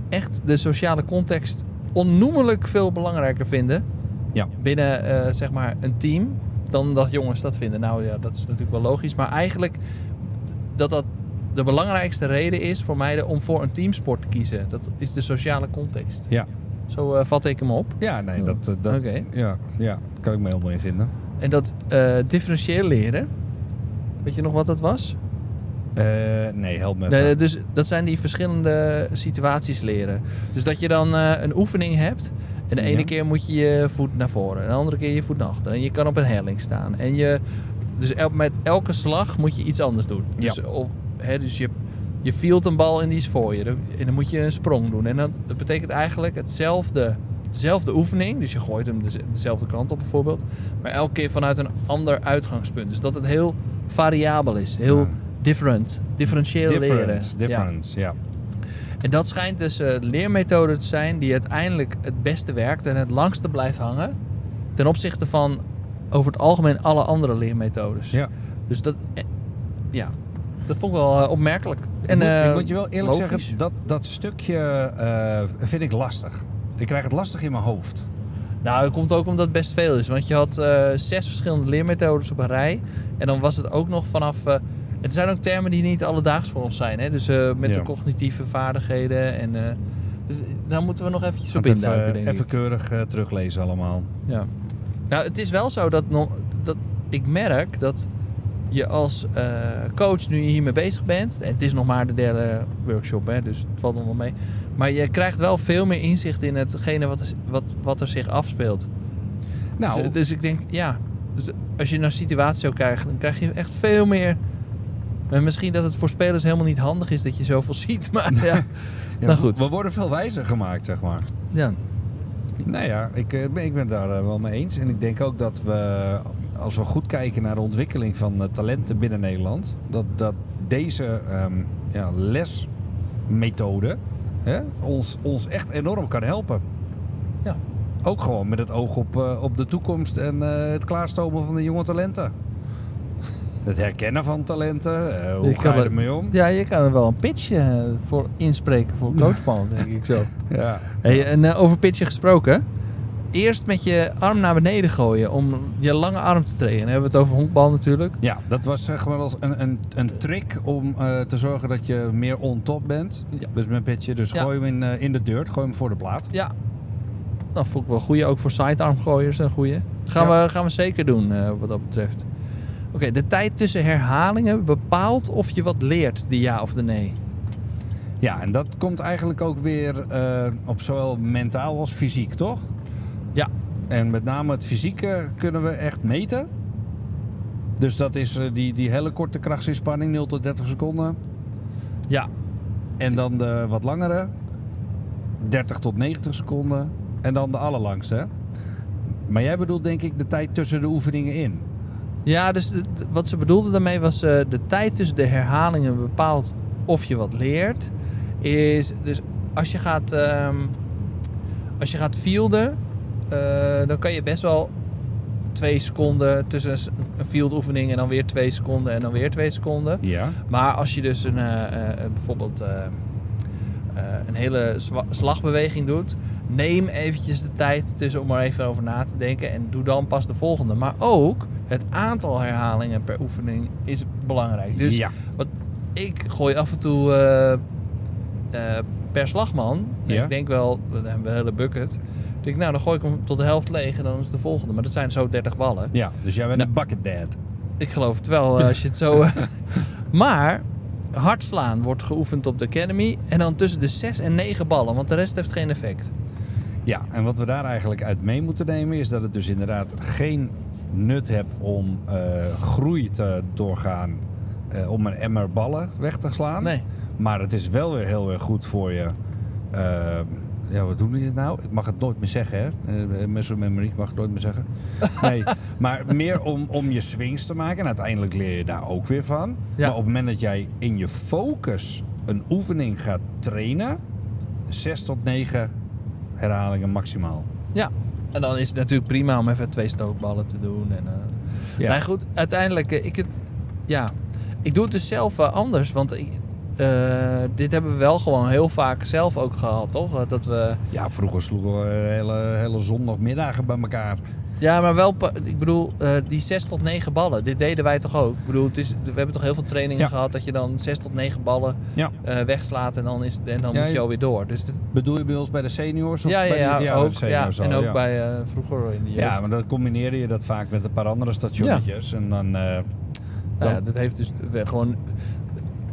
Speaker 1: echt de sociale context onnoemelijk veel belangrijker vinden
Speaker 2: Ja.
Speaker 1: binnen eh, zeg maar een team dan dat jongens dat vinden. Nou ja, dat is natuurlijk wel logisch, maar eigenlijk dat dat de belangrijkste reden is voor meiden om voor een teamsport te kiezen. Dat is de sociale context.
Speaker 2: Ja.
Speaker 1: Zo eh, vat ik hem op.
Speaker 2: Ja, nee,
Speaker 1: Oh,
Speaker 2: dat, eh, dat
Speaker 1: oké.
Speaker 2: ja, ja, daar kan ik me helemaal in vinden.
Speaker 1: En dat eh, differentieel leren. Weet je nog wat dat was?
Speaker 2: Eh, nee, help me even.
Speaker 1: Nee, dus dat zijn die verschillende situaties leren. Dus dat je dan eh, een oefening hebt. En de ene
Speaker 2: Ja.
Speaker 1: keer moet je je voet naar voren. En de andere keer je voet naar achteren. En je kan op een helling staan. En je, dus el- met elke slag moet je iets anders doen.
Speaker 2: Ja.
Speaker 1: Dus, of, hè, dus je, je field een bal en die is voor je. Dan- En dan moet je een sprong doen. En dat, dat betekent eigenlijk hetzelfde, dezelfde oefening. Dus je gooit hem dus dezelfde kant op bijvoorbeeld. Maar elke keer vanuit een ander uitgangspunt. Dus dat het heel variabel is. Heel
Speaker 2: Ja.
Speaker 1: different. Differentieel leren.
Speaker 2: difference,
Speaker 1: Ja.
Speaker 2: difference, ja.
Speaker 1: En dat schijnt dus eh, de leermethode te zijn die uiteindelijk het beste werkt en het langste blijft hangen ten opzichte van over het algemeen alle andere leermethodes.
Speaker 2: Ja.
Speaker 1: Dus dat, eh, ja, dat vond ik wel eh, opmerkelijk. En,
Speaker 2: ik, moet, ik
Speaker 1: eh,
Speaker 2: moet je wel eerlijk
Speaker 1: logisch.
Speaker 2: zeggen, dat, dat stukje eh, vind ik lastig. Ik krijg het lastig in mijn hoofd.
Speaker 1: Nou, dat komt ook omdat het best veel is. Want je had eh, zes verschillende leermethodes op een rij. En dan was het ook nog vanaf... eh, het zijn ook termen die niet alledaags voor ons zijn. Hè? Dus eh, met
Speaker 2: Ja.
Speaker 1: de cognitieve vaardigheden. En, eh, dus daar moeten we nog eventjes op
Speaker 2: Gaat even,
Speaker 1: induiken, denk ik.
Speaker 2: even keurig eh, teruglezen allemaal.
Speaker 1: Ja. Nou, het is wel zo dat, no- dat ik merk dat je als eh, coach nu je hiermee bezig bent... en het is nog maar de derde workshop, hè, dus het valt nog wel mee... maar je krijgt wel veel meer inzicht in hetgene wat, er- wat, wat er zich afspeelt.
Speaker 2: Nou,
Speaker 1: Dus, dus ik denk, ja... Dus als je naar situatie ook kijkt, dan krijg je echt veel meer... En misschien dat het voor spelers helemaal niet handig is dat je zoveel ziet, maar ja.
Speaker 2: ja,
Speaker 1: nou goed.
Speaker 2: we worden veel wijzer gemaakt, zeg maar.
Speaker 1: ja.
Speaker 2: Nou ja, ik, eh, ben- ik ben het daar eh, wel mee eens. En ik denk ook dat we, als we goed kijken naar de ontwikkeling van eh, talenten binnen Nederland, dat, dat deze ehm, ja, lesmethode hè, ons, ons echt enorm kan helpen.
Speaker 1: Ja.
Speaker 2: Ook gewoon met het oog op, eh, op de toekomst en eh, het klaarstomen van de jonge talenten. Het herkennen van talenten, eh, hoe
Speaker 1: Ik
Speaker 2: ga
Speaker 1: kan
Speaker 2: je
Speaker 1: het-
Speaker 2: ermee om?
Speaker 1: ja, je kan er wel een pitch eh, voor inspreken voor coachbal, denk ik zo.
Speaker 2: Ja.
Speaker 1: Hey, en eh, over pitchen gesproken. Eerst met je arm naar beneden gooien om je lange arm te trainen. Dan hebben we het over honkbal natuurlijk.
Speaker 2: Ja, dat was zeg maar als een, een, een trick om eh, te zorgen dat je meer on top bent.
Speaker 1: Ja.
Speaker 2: Dus met pitje. Dus
Speaker 1: Ja.
Speaker 2: gooi hem in, eh, in de dirt, gooi hem voor de plaat.
Speaker 1: Ja. Dat vond Nou, ik wel een goeie. Ook voor sidearmgooiers een goeie. Dat gaan,
Speaker 2: Ja.
Speaker 1: we, gaan we zeker doen eh, wat dat betreft. Oké, de tijd tussen herhalingen bepaalt of je wat leert, de ja of de nee.
Speaker 2: Ja, en dat komt eigenlijk ook weer eh, op zowel mentaal als fysiek, toch?
Speaker 1: Ja.
Speaker 2: En met name het fysieke kunnen we echt meten. Dus dat is eh, die, die hele korte krachtsinspanning, 0 tot 30 seconden.
Speaker 1: Ja,
Speaker 2: En dan de wat langere, 30 tot 90 seconden. En dan de allerlangste. hè? Maar jij bedoelt denk ik de tijd tussen de oefeningen in.
Speaker 1: ja dus de- de- wat ze bedoelde daarmee was eh, de tijd tussen de herhalingen bepaalt of je wat leert. Is dus als je gaat, ehm, als je gaat fielden, eh, dan kan je best wel twee seconden tussen een s- een fieldoefening en dan weer twee seconden en dan weer twee seconden.
Speaker 2: Ja.
Speaker 1: Maar als je dus een, eh, eh, eh, bijvoorbeeld eh, eh, een hele zwa- slagbeweging doet, neem eventjes de tijd tussen om er even over na te denken en doe dan pas de volgende. Maar ook het aantal herhalingen per oefening is belangrijk. Dus
Speaker 2: ja.
Speaker 1: wat, ik gooi af en toe eh, eh, per slagman. En
Speaker 2: Ja.
Speaker 1: Ik denk wel, we hebben we een hele bucket. Ik denk, nou, dan gooi ik hem tot de helft leeg en dan is de volgende. Maar dat zijn zo 30 ballen.
Speaker 2: ja. Dus jij bent
Speaker 1: Nou.
Speaker 2: een bucket dad.
Speaker 1: Ik geloof het wel, eh, als je het zo... eh, maar hard slaan wordt geoefend op de academy. En dan tussen de 6 en 9 ballen, want de rest heeft geen effect.
Speaker 2: Ja, en wat we daar eigenlijk uit mee moeten nemen is dat het dus inderdaad geen nut hebt om eh, groei te doorgaan. eh, om een emmer ballen weg te slaan.
Speaker 1: Nee.
Speaker 2: Maar het is wel weer heel erg goed voor je. eh, ja, wat doen die dit nou? Ik mag het nooit meer zeggen, hè? Eh, Muscle memory, ik mag het nooit meer zeggen. Nee, maar meer om, om je swings te maken. En uiteindelijk leer je daar ook weer van.
Speaker 1: Ja.
Speaker 2: Maar op het moment dat jij in je focus een oefening gaat trainen... 6 tot 9 herhalingen maximaal.
Speaker 1: Ja. En dan is het natuurlijk prima om even twee stookballen te doen. En, eh,
Speaker 2: Ja.
Speaker 1: Maar goed, uiteindelijk... eh, ik, het- ja, ik doe het dus zelf eh, anders, want... Ik, eh, dit hebben we wel gewoon heel vaak zelf ook gehad, toch? Eh, Dat we
Speaker 2: ja, vroeger sloegen we hele, hele zondagmiddagen bij elkaar.
Speaker 1: Ja, maar wel, pa- ik bedoel, eh, die 6 tot 9 ballen, dit deden wij toch ook? Ik bedoel, het is, we hebben toch heel veel trainingen
Speaker 2: Ja.
Speaker 1: gehad dat je dan 6 tot 9 ballen
Speaker 2: Ja.
Speaker 1: eh, wegslaat en dan, is, en dan
Speaker 2: Ja,
Speaker 1: moet je
Speaker 2: je-
Speaker 1: alweer door. Dus dit-
Speaker 2: Bedoel je bij ons bij de seniors? Of
Speaker 1: ja, ja,
Speaker 2: bij de-
Speaker 1: ja,
Speaker 2: bij de
Speaker 1: ook, ja,
Speaker 2: seniors al,
Speaker 1: en ook
Speaker 2: ja.
Speaker 1: bij eh, vroeger in de jeugd.
Speaker 2: Ja, maar dan combineerde je dat vaak met een paar andere stationnetjes. En dan, eh,
Speaker 1: Nou ja, dat heeft dus weer gewoon...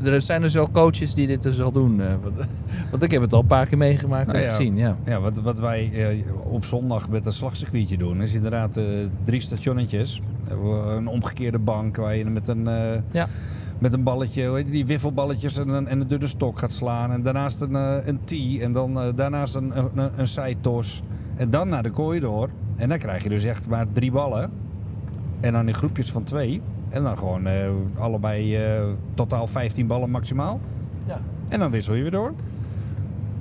Speaker 1: Er zijn dus wel coaches die dit dus al doen. eh, want, want ik heb het al een paar keer meegemaakt
Speaker 2: Nou
Speaker 1: en
Speaker 2: ja.
Speaker 1: gezien, ja.
Speaker 2: ja, wat, wat wij eh, op zondag met een slagcircuitje doen, is inderdaad eh, drie stationnetjes. Een omgekeerde bank waar je met een, eh,
Speaker 1: Ja.
Speaker 2: met een balletje, hoe heet die, die wiffelballetjes en een, en een dunne stok gaat slaan. En daarnaast een, eh, een tee en dan eh, daarnaast een, een, een- een zijtos. En dan naar de corridor. En dan krijg je dus echt maar drie ballen. En dan in groepjes van twee. En dan gewoon eh, allebei eh, totaal 15 ballen maximaal.
Speaker 1: ja.
Speaker 2: En dan wissel je weer door.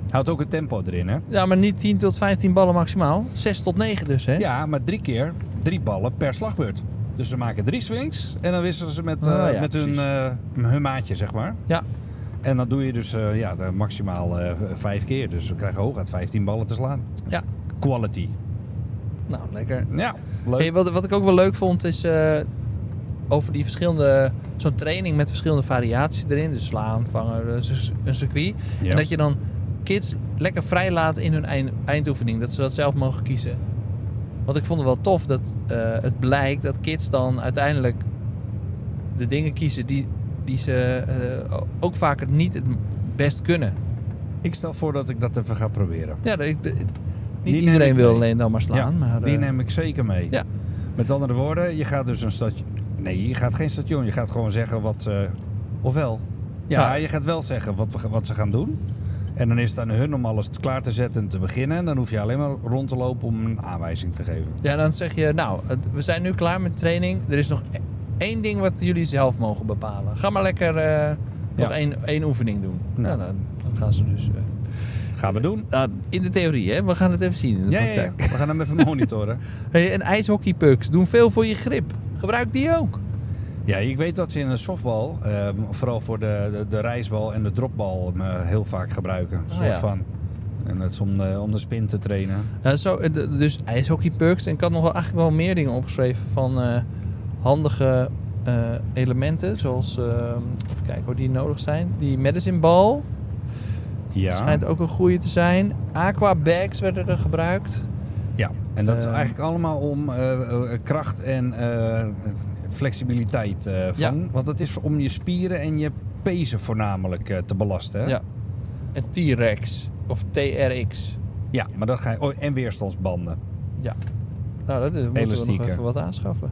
Speaker 2: Houdt ook het tempo erin, hè?
Speaker 1: Ja, maar niet 10 tot 15 ballen maximaal. 6 tot 9 dus, hè?
Speaker 2: Ja, maar drie keer drie ballen per slagbeurt. Dus ze maken drie swings en dan wisselen ze met, eh,
Speaker 1: Ah, ja,
Speaker 2: met hun,
Speaker 1: precies.
Speaker 2: eh, hun maatje, zeg maar.
Speaker 1: Ja.
Speaker 2: En dat doe je dus eh, ja, de- maximaal eh, v- vijf keer. Dus we krijgen hooguit 15 ballen te slaan.
Speaker 1: Ja.
Speaker 2: Quality.
Speaker 1: Nou, lekker.
Speaker 2: Ja, leuk.
Speaker 1: Hey, wat, wat ik ook wel leuk vond is eh, over die verschillende. Zo'n training met verschillende variaties erin. Dus slaan, vangen, eh, c- een circuit.
Speaker 2: Ja.
Speaker 1: En dat je dan kids lekker vrij laat in hun eind, eindoefening. Dat ze dat zelf mogen kiezen. Want ik vond het wel tof dat eh, het blijkt dat kids dan uiteindelijk de dingen kiezen die, die ze eh, o- ook vaker niet het best kunnen.
Speaker 2: Ik stel voor dat ik dat even ga proberen.
Speaker 1: Ja, dat- ik- niet
Speaker 2: Die neem
Speaker 1: iedereen
Speaker 2: ik
Speaker 1: wil
Speaker 2: mee.
Speaker 1: alleen dan maar slaan. maar,
Speaker 2: Die
Speaker 1: eh,
Speaker 2: neem ik zeker mee.
Speaker 1: Ja.
Speaker 2: Met andere woorden, je gaat dus een station... Nee, je gaat geen station. Je gaat gewoon zeggen wat... eh,
Speaker 1: Ofwel.
Speaker 2: Ja,
Speaker 1: Ja.
Speaker 2: je gaat wel zeggen wat, we- wat ze gaan doen. En dan is het aan hun om alles klaar te zetten en te beginnen. En dan hoef je alleen maar rond te lopen om een aanwijzing te geven.
Speaker 1: Ja, dan zeg je, nou, het- we zijn nu klaar met training. Er is nog e- één ding wat jullie zelf mogen bepalen. Ga maar lekker eh, nog
Speaker 2: Ja.
Speaker 1: één, één oefening doen. Nou,
Speaker 2: Nou.
Speaker 1: dan, dan gaan ze dus... eh,
Speaker 2: Gaan we doen.
Speaker 1: nou, in de theorie, hè. We gaan het even zien in de
Speaker 2: Ja, ja, ja.
Speaker 1: praktijk.
Speaker 2: we gaan hem even monitoren.
Speaker 1: Hey, en ijshockeypucks doen veel voor je grip. Gebruik die ook.
Speaker 2: Ja, ik weet dat ze in een softbal, ehm, vooral voor de, de, de rijsbal en de dropbal, hem, eh, heel vaak gebruiken. Een
Speaker 1: Ah,
Speaker 2: soort
Speaker 1: ja.
Speaker 2: van. En dat is om de, om de spin te trainen.
Speaker 1: Nou, zo, eh, d- dus ijshockeypucks. En ik had nog wel, eigenlijk wel meer dingen opgeschreven van eh, handige eh, elementen. Zoals, eh, even kijken hoor, die nodig zijn. Die medicine ball.
Speaker 2: Ja.
Speaker 1: Schijnt ook een goede te zijn. Aqua bags werden er gebruikt.
Speaker 2: Ja, en dat is
Speaker 1: Ehm.
Speaker 2: eigenlijk allemaal om eh, eh, kracht en eh, flexibiliteit eh, van. Want het is om je spieren en je pezen voornamelijk eh, te belasten. Hè?
Speaker 1: Ja. En T-Rex of TRX.
Speaker 2: Ja, maar dat ga je. Oh, en weerstandsbanden.
Speaker 1: Ja. Nou, dat is, moeten we nog
Speaker 2: Elastieken.
Speaker 1: even wat aanschaffen.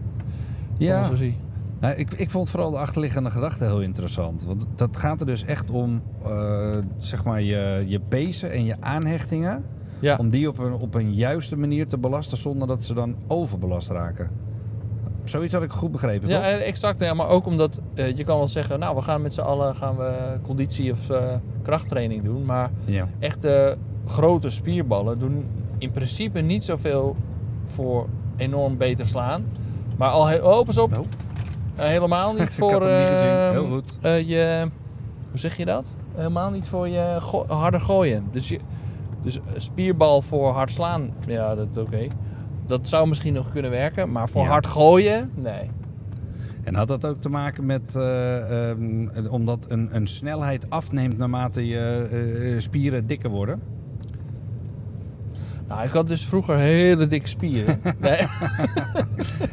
Speaker 2: Ja.
Speaker 1: Van onze zie.
Speaker 2: Nou, ik, ik vond vooral de achterliggende gedachte heel interessant. Want dat gaat er dus echt om, eh, zeg maar, je, je pezen en je aanhechtingen.
Speaker 1: Ja.
Speaker 2: Om die op een, op een juiste manier te belasten zonder dat ze dan overbelast raken. Zoiets had ik goed begrepen,
Speaker 1: Ja,
Speaker 2: toch?
Speaker 1: eh, exact. Ja, maar ook omdat eh, je kan wel zeggen, nou, we gaan met z'n allen gaan we conditie of eh, krachttraining doen. Maar
Speaker 2: Ja.
Speaker 1: echt eh, grote spierballen doen in principe niet zoveel voor enorm beter slaan. Maar al heel, oh, pas op.
Speaker 2: Oh.
Speaker 1: Eh, helemaal niet
Speaker 2: Ik
Speaker 1: voor
Speaker 2: had hem niet gezien.
Speaker 1: eh,
Speaker 2: Heel goed.
Speaker 1: eh, je, hoe zeg je dat? Helemaal niet voor je go- harder gooien. Dus, je, dus een spierbal voor hard slaan, ja, dat is oké. Dat zou misschien nog kunnen werken, maar voor
Speaker 2: Ja.
Speaker 1: hard gooien, nee.
Speaker 2: En had dat ook te maken met, eh, ehm, omdat een, een snelheid afneemt naarmate je eh, spieren dikker worden?
Speaker 1: Nou, ik had dus vroeger hele dikke spieren. nee.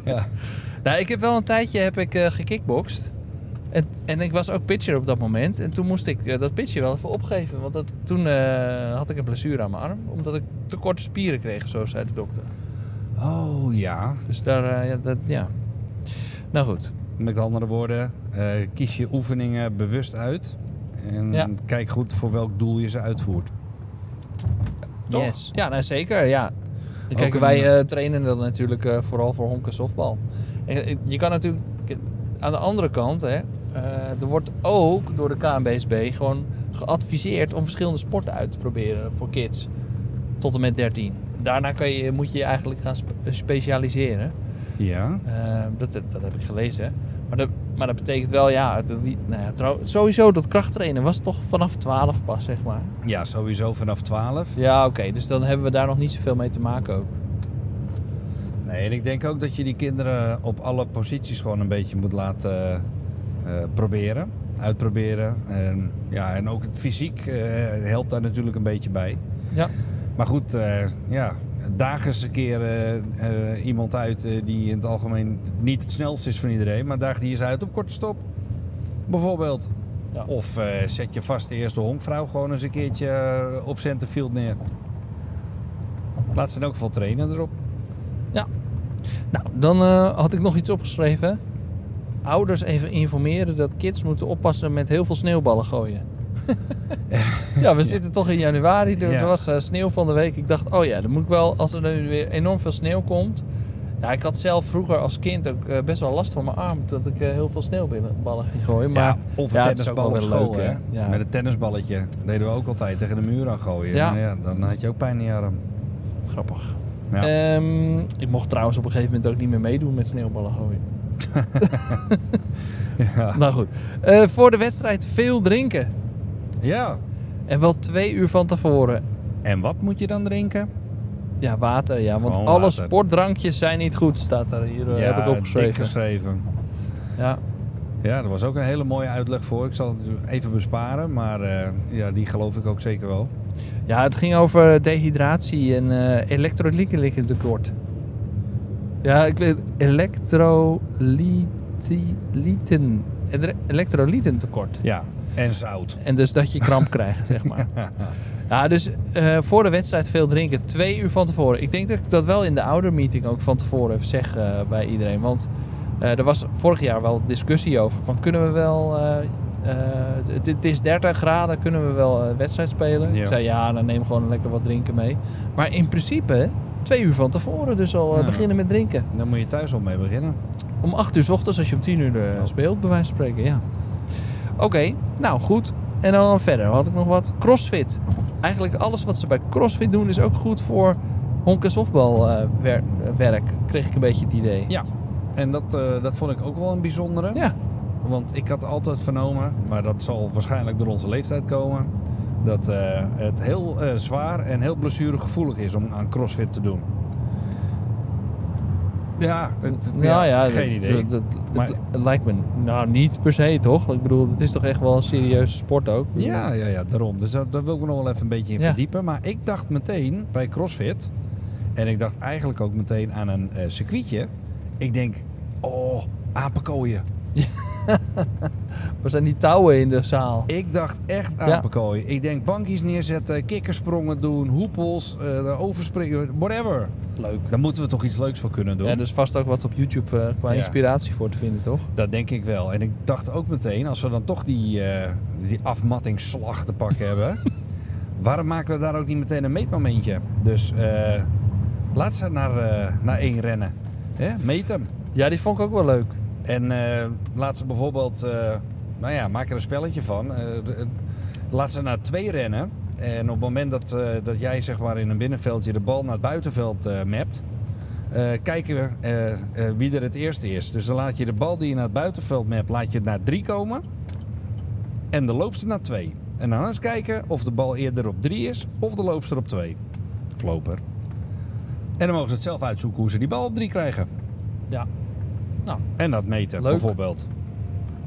Speaker 2: Ja.
Speaker 1: Nou, ik heb wel een tijdje heb ik, eh gekickboxd. En, en ik was ook pitcher op dat moment. En toen moest ik eh, dat pitcher wel even opgeven. Want dat, toen eh, had ik een blessure aan mijn arm. Omdat ik te korte spieren kreeg, zo zei de dokter.
Speaker 2: Oh ja.
Speaker 1: Dus daar, eh, ja, dat, ja. Nou goed.
Speaker 2: Met andere woorden, eh, kies je oefeningen bewust uit. En
Speaker 1: Ja.
Speaker 2: kijk goed voor welk doel je ze uitvoert. Toch?
Speaker 1: Yes. Ja, nou zeker, ja.
Speaker 2: Ook
Speaker 1: Kijk,
Speaker 2: een-
Speaker 1: wij eh, trainen dat natuurlijk eh, vooral voor honken softbal. En, eh, je kan natuurlijk... k- Aan de andere kant, hè, eh, er wordt ook door de KNBSB gewoon geadviseerd om verschillende sporten uit te proberen voor kids. Tot en met 13. Daarna kan je, moet je je eigenlijk gaan spe- specialiseren.
Speaker 2: Ja.
Speaker 1: Eh, dat, dat heb ik gelezen. Maar dat, maar dat betekent wel, ja, dat die, nou ja trouw- sowieso dat krachttrainen was toch vanaf 12 pas, zeg maar.
Speaker 2: Ja, sowieso vanaf 12.
Speaker 1: Ja, oké, dus dan hebben we daar nog niet zoveel mee te maken ook.
Speaker 2: Nee, en ik denk ook dat je die kinderen op alle posities gewoon een beetje moet laten eh, proberen. Uitproberen. En, ja, en ook het fysiek eh, helpt daar natuurlijk een beetje bij.
Speaker 1: Ja.
Speaker 2: Maar goed, eh ja, daag eens een keer eh, eh, iemand uit eh, die in het algemeen niet het snelst is van iedereen. Maar daag die eens uit op korte stop. Bijvoorbeeld.
Speaker 1: Ja.
Speaker 2: Of eh, zet je vast de eerste honkvrouw gewoon eens een keertje eh, op centerfield neer. Laat ze dan ook veel trainen erop.
Speaker 1: Nou, dan eh, had ik nog iets opgeschreven. Ouders even informeren dat kids moeten oppassen met heel veel sneeuwballen gooien. ja, we zitten toch in januari. Er,
Speaker 2: Ja.
Speaker 1: er was eh, sneeuw van de week. Ik dacht, oh ja, dan moet ik wel, als er nu weer enorm veel sneeuw komt. Ja, ik had zelf vroeger als kind ook eh, best wel last van mijn arm. Dat ik eh, heel veel sneeuwballen ging gooien. Maar
Speaker 2: ja, of een
Speaker 1: ja, het is ook
Speaker 2: tennisbal op
Speaker 1: wel weer
Speaker 2: school,
Speaker 1: leuk,
Speaker 2: hè?
Speaker 1: hè? Ja.
Speaker 2: Met een tennisballetje. Dat deden we ook altijd tegen de muur aan gooien.
Speaker 1: Ja.
Speaker 2: Nou dan had je ook pijn in je arm.
Speaker 1: grappig.
Speaker 2: Ja.
Speaker 1: Ehm, ik mocht trouwens op een gegeven moment ook niet meer meedoen met sneeuwballen gooien.
Speaker 2: Ja.
Speaker 1: Nou goed. Eh, voor de wedstrijd veel drinken.
Speaker 2: ja.
Speaker 1: En wel twee uur van tevoren.
Speaker 2: En wat moet je dan drinken?
Speaker 1: Ja, water, ja. Want
Speaker 2: Gewoon
Speaker 1: alle
Speaker 2: water.
Speaker 1: sportdrankjes zijn niet goed, staat er hier. eh, heb ik
Speaker 2: dik
Speaker 1: opgeschreven.
Speaker 2: geschreven.
Speaker 1: Ja.
Speaker 2: Ja, daar was ook een hele mooie uitleg voor. Ik zal het even besparen, maar eh, ja, die geloof ik ook zeker wel.
Speaker 1: ja, het ging over dehydratie en eh elektrolyten tekort. Ja, ik weet elektrolyten. Elektrolyten tekort.
Speaker 2: Ja, en zout.
Speaker 1: En dus dat je kramp krijgt, zeg maar. Ja, dus eh, voor de wedstrijd veel drinken. Twee uur van tevoren. Ik denk dat ik dat wel in de oudermeeting ook van tevoren even zeg eh, bij iedereen. Want eh, er was vorig jaar wel discussie over. Van kunnen we wel... eh, eh, het, het is 30 graden, kunnen we wel eh, wedstrijd spelen?
Speaker 2: Ja.
Speaker 1: Ik zei ja, dan neem gewoon lekker wat drinken mee. Maar in principe twee uur van tevoren. Dus al eh,
Speaker 2: Ja.
Speaker 1: beginnen met drinken.
Speaker 2: Daar moet je thuis al mee beginnen.
Speaker 1: Om 8 uur 's ochtends, als je om 10 uur eh, speelt, bij wijze van spreken, ja. Oké, nou goed. En dan verder had ik nog wat. Crossfit. Eigenlijk alles wat ze bij Crossfit doen is ook goed voor honk- en softbalwerk, kreeg ik een beetje het idee.
Speaker 2: Ja. En dat, eh, dat vond ik ook wel een bijzondere.
Speaker 1: Ja,
Speaker 2: Want ik had altijd vernomen, maar dat zal waarschijnlijk door onze leeftijd komen, dat eh, het heel eh, zwaar en heel blessuregevoelig is om aan crossfit te doen. Ja, dat, ja,
Speaker 1: Nou ja,
Speaker 2: geen
Speaker 1: dat-
Speaker 2: idee.
Speaker 1: Dat, dat-
Speaker 2: Maar-
Speaker 1: het- het lijkt me nou niet per se, toch? Ik bedoel, het is toch echt wel een serieuze sport ook?
Speaker 2: ja, ja, ja, daarom. Dus daar, daar wil ik me nog wel even een beetje in
Speaker 1: Ja.
Speaker 2: verdiepen. Maar ik dacht meteen bij crossfit, en ik dacht eigenlijk ook meteen aan een eh, circuitje. Ik denk, oh, apenkooien.
Speaker 1: Waar zijn die touwen in de zaal?
Speaker 2: Ik dacht echt aan
Speaker 1: Ja.
Speaker 2: pakooi. Ik denk bankjes neerzetten, kikkersprongen doen, hoepels, eh, overspringen, whatever.
Speaker 1: Leuk.
Speaker 2: Daar moeten we toch iets leuks voor kunnen doen.
Speaker 1: Ja, er is vast ook wat op YouTube eh, qua
Speaker 2: Ja.
Speaker 1: inspiratie voor te vinden, toch?
Speaker 2: Dat denk ik wel. En ik dacht ook meteen, als we dan toch die, eh, die afmattingsslag te pakken hebben, waarom maken we daar ook niet meteen een meetmomentje? Dus eh, laat ze naar, eh, naar één rennen. Hè? Meet hem.
Speaker 1: Ja, die vond ik ook wel leuk.
Speaker 2: En eh, laat ze bijvoorbeeld, eh, nou ja, maak er een spelletje van. Eh, d- eh, laat ze naar twee rennen. En op het moment dat, eh, dat jij zeg maar in een binnenveldje de bal naar het buitenveld eh mapt, eh, kijken we eh, eh, wie er het eerste is. Dus dan laat je de bal die je naar het buitenveld mapt, laat je naar drie komen. En de loopster naar twee. En dan eens kijken of de bal eerder op drie is of de loopster op twee. Of loper. En dan mogen ze het zelf uitzoeken hoe ze die bal op drie krijgen.
Speaker 1: Ja.
Speaker 2: En dat meten,
Speaker 1: Leuk.
Speaker 2: bijvoorbeeld.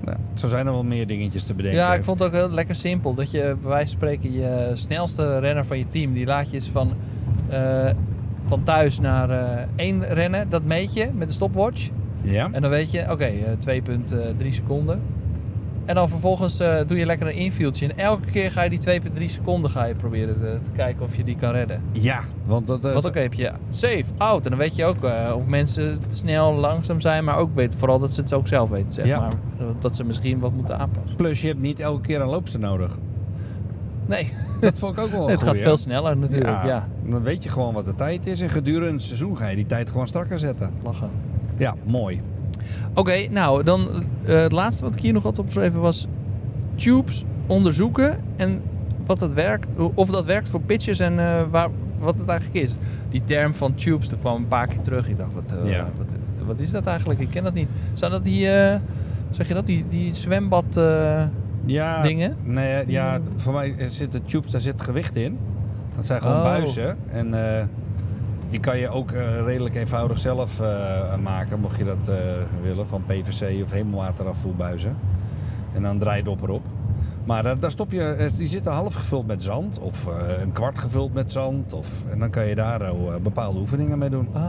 Speaker 2: Nou, zo zijn er wel meer dingetjes te bedenken.
Speaker 1: Ja, ik vond het ook heel lekker simpel. Dat je bij wijze van spreken je snelste renner van je team, die laat je eens van, eh, van thuis naar eh, één rennen. Dat meet je met een stopwatch.
Speaker 2: Ja?
Speaker 1: En dan weet je, oké, eh, 2,3 seconden. En dan vervolgens eh, doe je lekker een infieldje. En elke keer ga je die 2,3 seconden ga je proberen te, te kijken of je die kan redden.
Speaker 2: Ja, want dat... eh,
Speaker 1: Want ook heb je safe, out. En dan weet je ook eh, of mensen snel, langzaam zijn. Maar ook weet vooral dat ze het ook zelf weten, zeg
Speaker 2: Ja.
Speaker 1: maar. Dat ze misschien wat moeten aanpassen.
Speaker 2: Plus, je hebt niet elke keer een loopster nodig.
Speaker 1: Nee,
Speaker 2: Dat vond ik ook wel een
Speaker 1: het gaat
Speaker 2: Oh, goeie.
Speaker 1: veel sneller natuurlijk, ja.
Speaker 2: Dan weet je gewoon wat de tijd is. En gedurende het seizoen ga je die tijd gewoon strakker zetten.
Speaker 1: Lachen.
Speaker 2: Ja, mooi.
Speaker 1: Oké, nou, dan eh, het laatste wat ik hier nog had opgeschreven was... Tubes onderzoeken en wat dat werkt, of dat werkt voor pitches en eh, waar, wat het eigenlijk is. Die term van tubes, dat kwam een paar keer terug. Ik dacht, wat, eh,
Speaker 2: Ja.
Speaker 1: wat, wat is dat eigenlijk? Ik ken dat niet. Zijn dat die, eh, zeg je dat, die, die zwembad... eh,
Speaker 2: Ja,
Speaker 1: Dingen?
Speaker 2: Nee, ja, voor mij zitten tubes, daar zit gewicht in. Dat zijn gewoon
Speaker 1: Oh.
Speaker 2: buizen. En eh, die kan je ook eh, redelijk eenvoudig zelf eh, maken, mocht je dat eh, willen, van PVC of hemelwaterafvoerbuizen. En dan draai je de opper op. Maar daar, daar stop je, eh, die zitten half gevuld met zand, of eh, een kwart gevuld met zand. Of, en dan kan je daar eh, bepaalde oefeningen mee doen.
Speaker 1: Ah.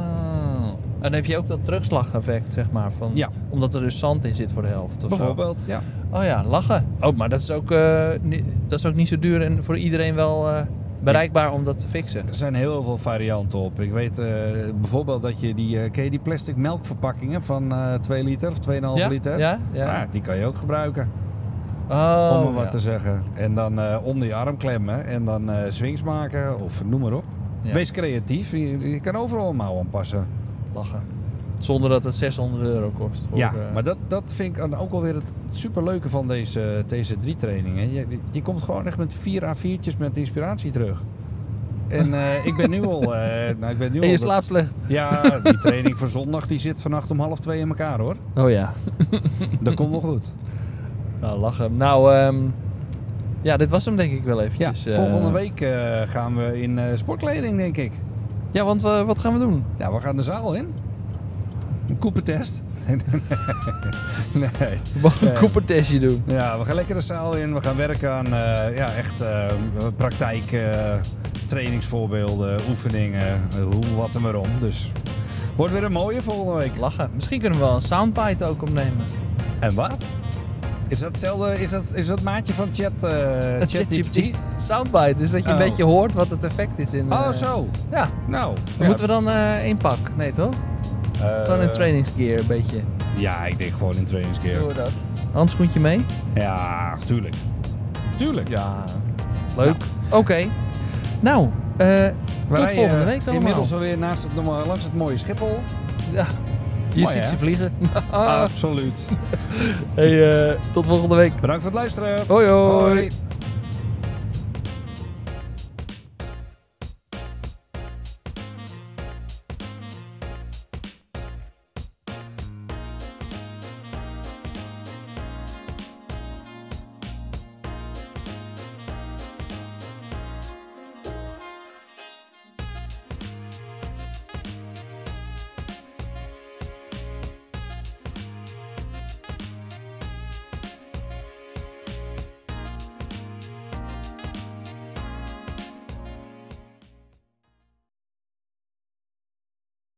Speaker 1: En dan heb je ook dat terugslageffect, zeg maar. Van,
Speaker 2: Ja.
Speaker 1: Omdat er dus zand in zit voor de helft. Of
Speaker 2: Bijvoorbeeld, ja.
Speaker 1: Zo. Oh ja, lachen. Oh, maar dat is, ook, eh, ni- dat is ook niet zo duur en voor iedereen wel eh, bereikbaar om dat te fixen.
Speaker 2: Er zijn heel veel varianten op. Ik weet eh, bijvoorbeeld dat je die, eh, ken je die plastic melkverpakkingen van eh 2 liter of 2,5
Speaker 1: ja?
Speaker 2: liter.
Speaker 1: Ja? ja.
Speaker 2: Ja, die kan je ook gebruiken,
Speaker 1: Oh,
Speaker 2: om maar wat
Speaker 1: ja.
Speaker 2: te zeggen. En dan eh, onder je arm klemmen en dan eh, swings maken of noem maar op.
Speaker 1: Ja.
Speaker 2: Wees creatief, je, je kan overal een mouw aanpassen.
Speaker 1: Lachen. Zonder dat het 600 euro kost. Voor,
Speaker 2: ja,
Speaker 1: eh,
Speaker 2: maar dat, dat vind ik dan ook alweer het superleuke van deze eh, TC3-trainingen. Je, je komt gewoon echt met vier A4'tjes met inspiratie terug. En eh, ik ben nu al... eh, nou, ik ben nu
Speaker 1: En
Speaker 2: al
Speaker 1: je
Speaker 2: de-
Speaker 1: slaapt slecht.
Speaker 2: Ja, die training voor zondag die zit vannacht om half twee in elkaar hoor.
Speaker 1: Oh ja.
Speaker 2: Dat komt wel goed.
Speaker 1: Nou, lachen. Nou, ehm, ja, dit was hem denk ik wel
Speaker 2: Ja,
Speaker 1: eventjes. eh.
Speaker 2: Dus, volgende week eh, gaan we in eh, sportkleding, denk ik.
Speaker 1: Ja, want eh, wat gaan we doen?
Speaker 2: Nou, we gaan de zaal in. Een koepentest. nee.
Speaker 1: We gaan een
Speaker 2: Eh.
Speaker 1: Cooper-testje doen.
Speaker 2: Ja, we gaan lekker de zaal in. We gaan werken aan eh, ja, echt eh, praktijk, eh, trainingsvoorbeelden, oefeningen, eh, hoe, wat en waarom. Dus wordt weer een mooie volgende week.
Speaker 1: Lachen. Misschien kunnen we wel een soundbite ook opnemen.
Speaker 2: Eh, En wat? Is dat hetzelfde, is dat, is dat maatje van chat, eh ChatGPT?
Speaker 1: Soundbite, dus dat je een
Speaker 2: Oh.
Speaker 1: beetje hoort wat het effect is in...
Speaker 2: Oh,
Speaker 1: eh,
Speaker 2: zo.
Speaker 1: Ja,
Speaker 2: Nou,
Speaker 1: dan moeten we dan eh één pak. Nee, toch? Gewoon een trainingsgear, een beetje.
Speaker 2: Eh, Ja, ik denk gewoon in
Speaker 1: Doen we
Speaker 2: trainingskeer.
Speaker 1: dat. Handschoentje mee?
Speaker 2: Ja, tuurlijk. Tuurlijk.
Speaker 1: Ja. Leuk. Oké. Nou, eh
Speaker 2: Wij,
Speaker 1: tot
Speaker 2: eh,
Speaker 1: volgende week allemaal.
Speaker 2: Inmiddels alweer naast het, normaal- langs het mooie Schiphol.
Speaker 1: Ja. Je
Speaker 2: Mooi,
Speaker 1: ziet
Speaker 2: hè?
Speaker 1: ze vliegen.
Speaker 2: Absoluut.
Speaker 1: Ah. hey, tot volgende week.
Speaker 2: Bedankt voor het luisteren.
Speaker 1: Hoi hoi.
Speaker 2: Hoi.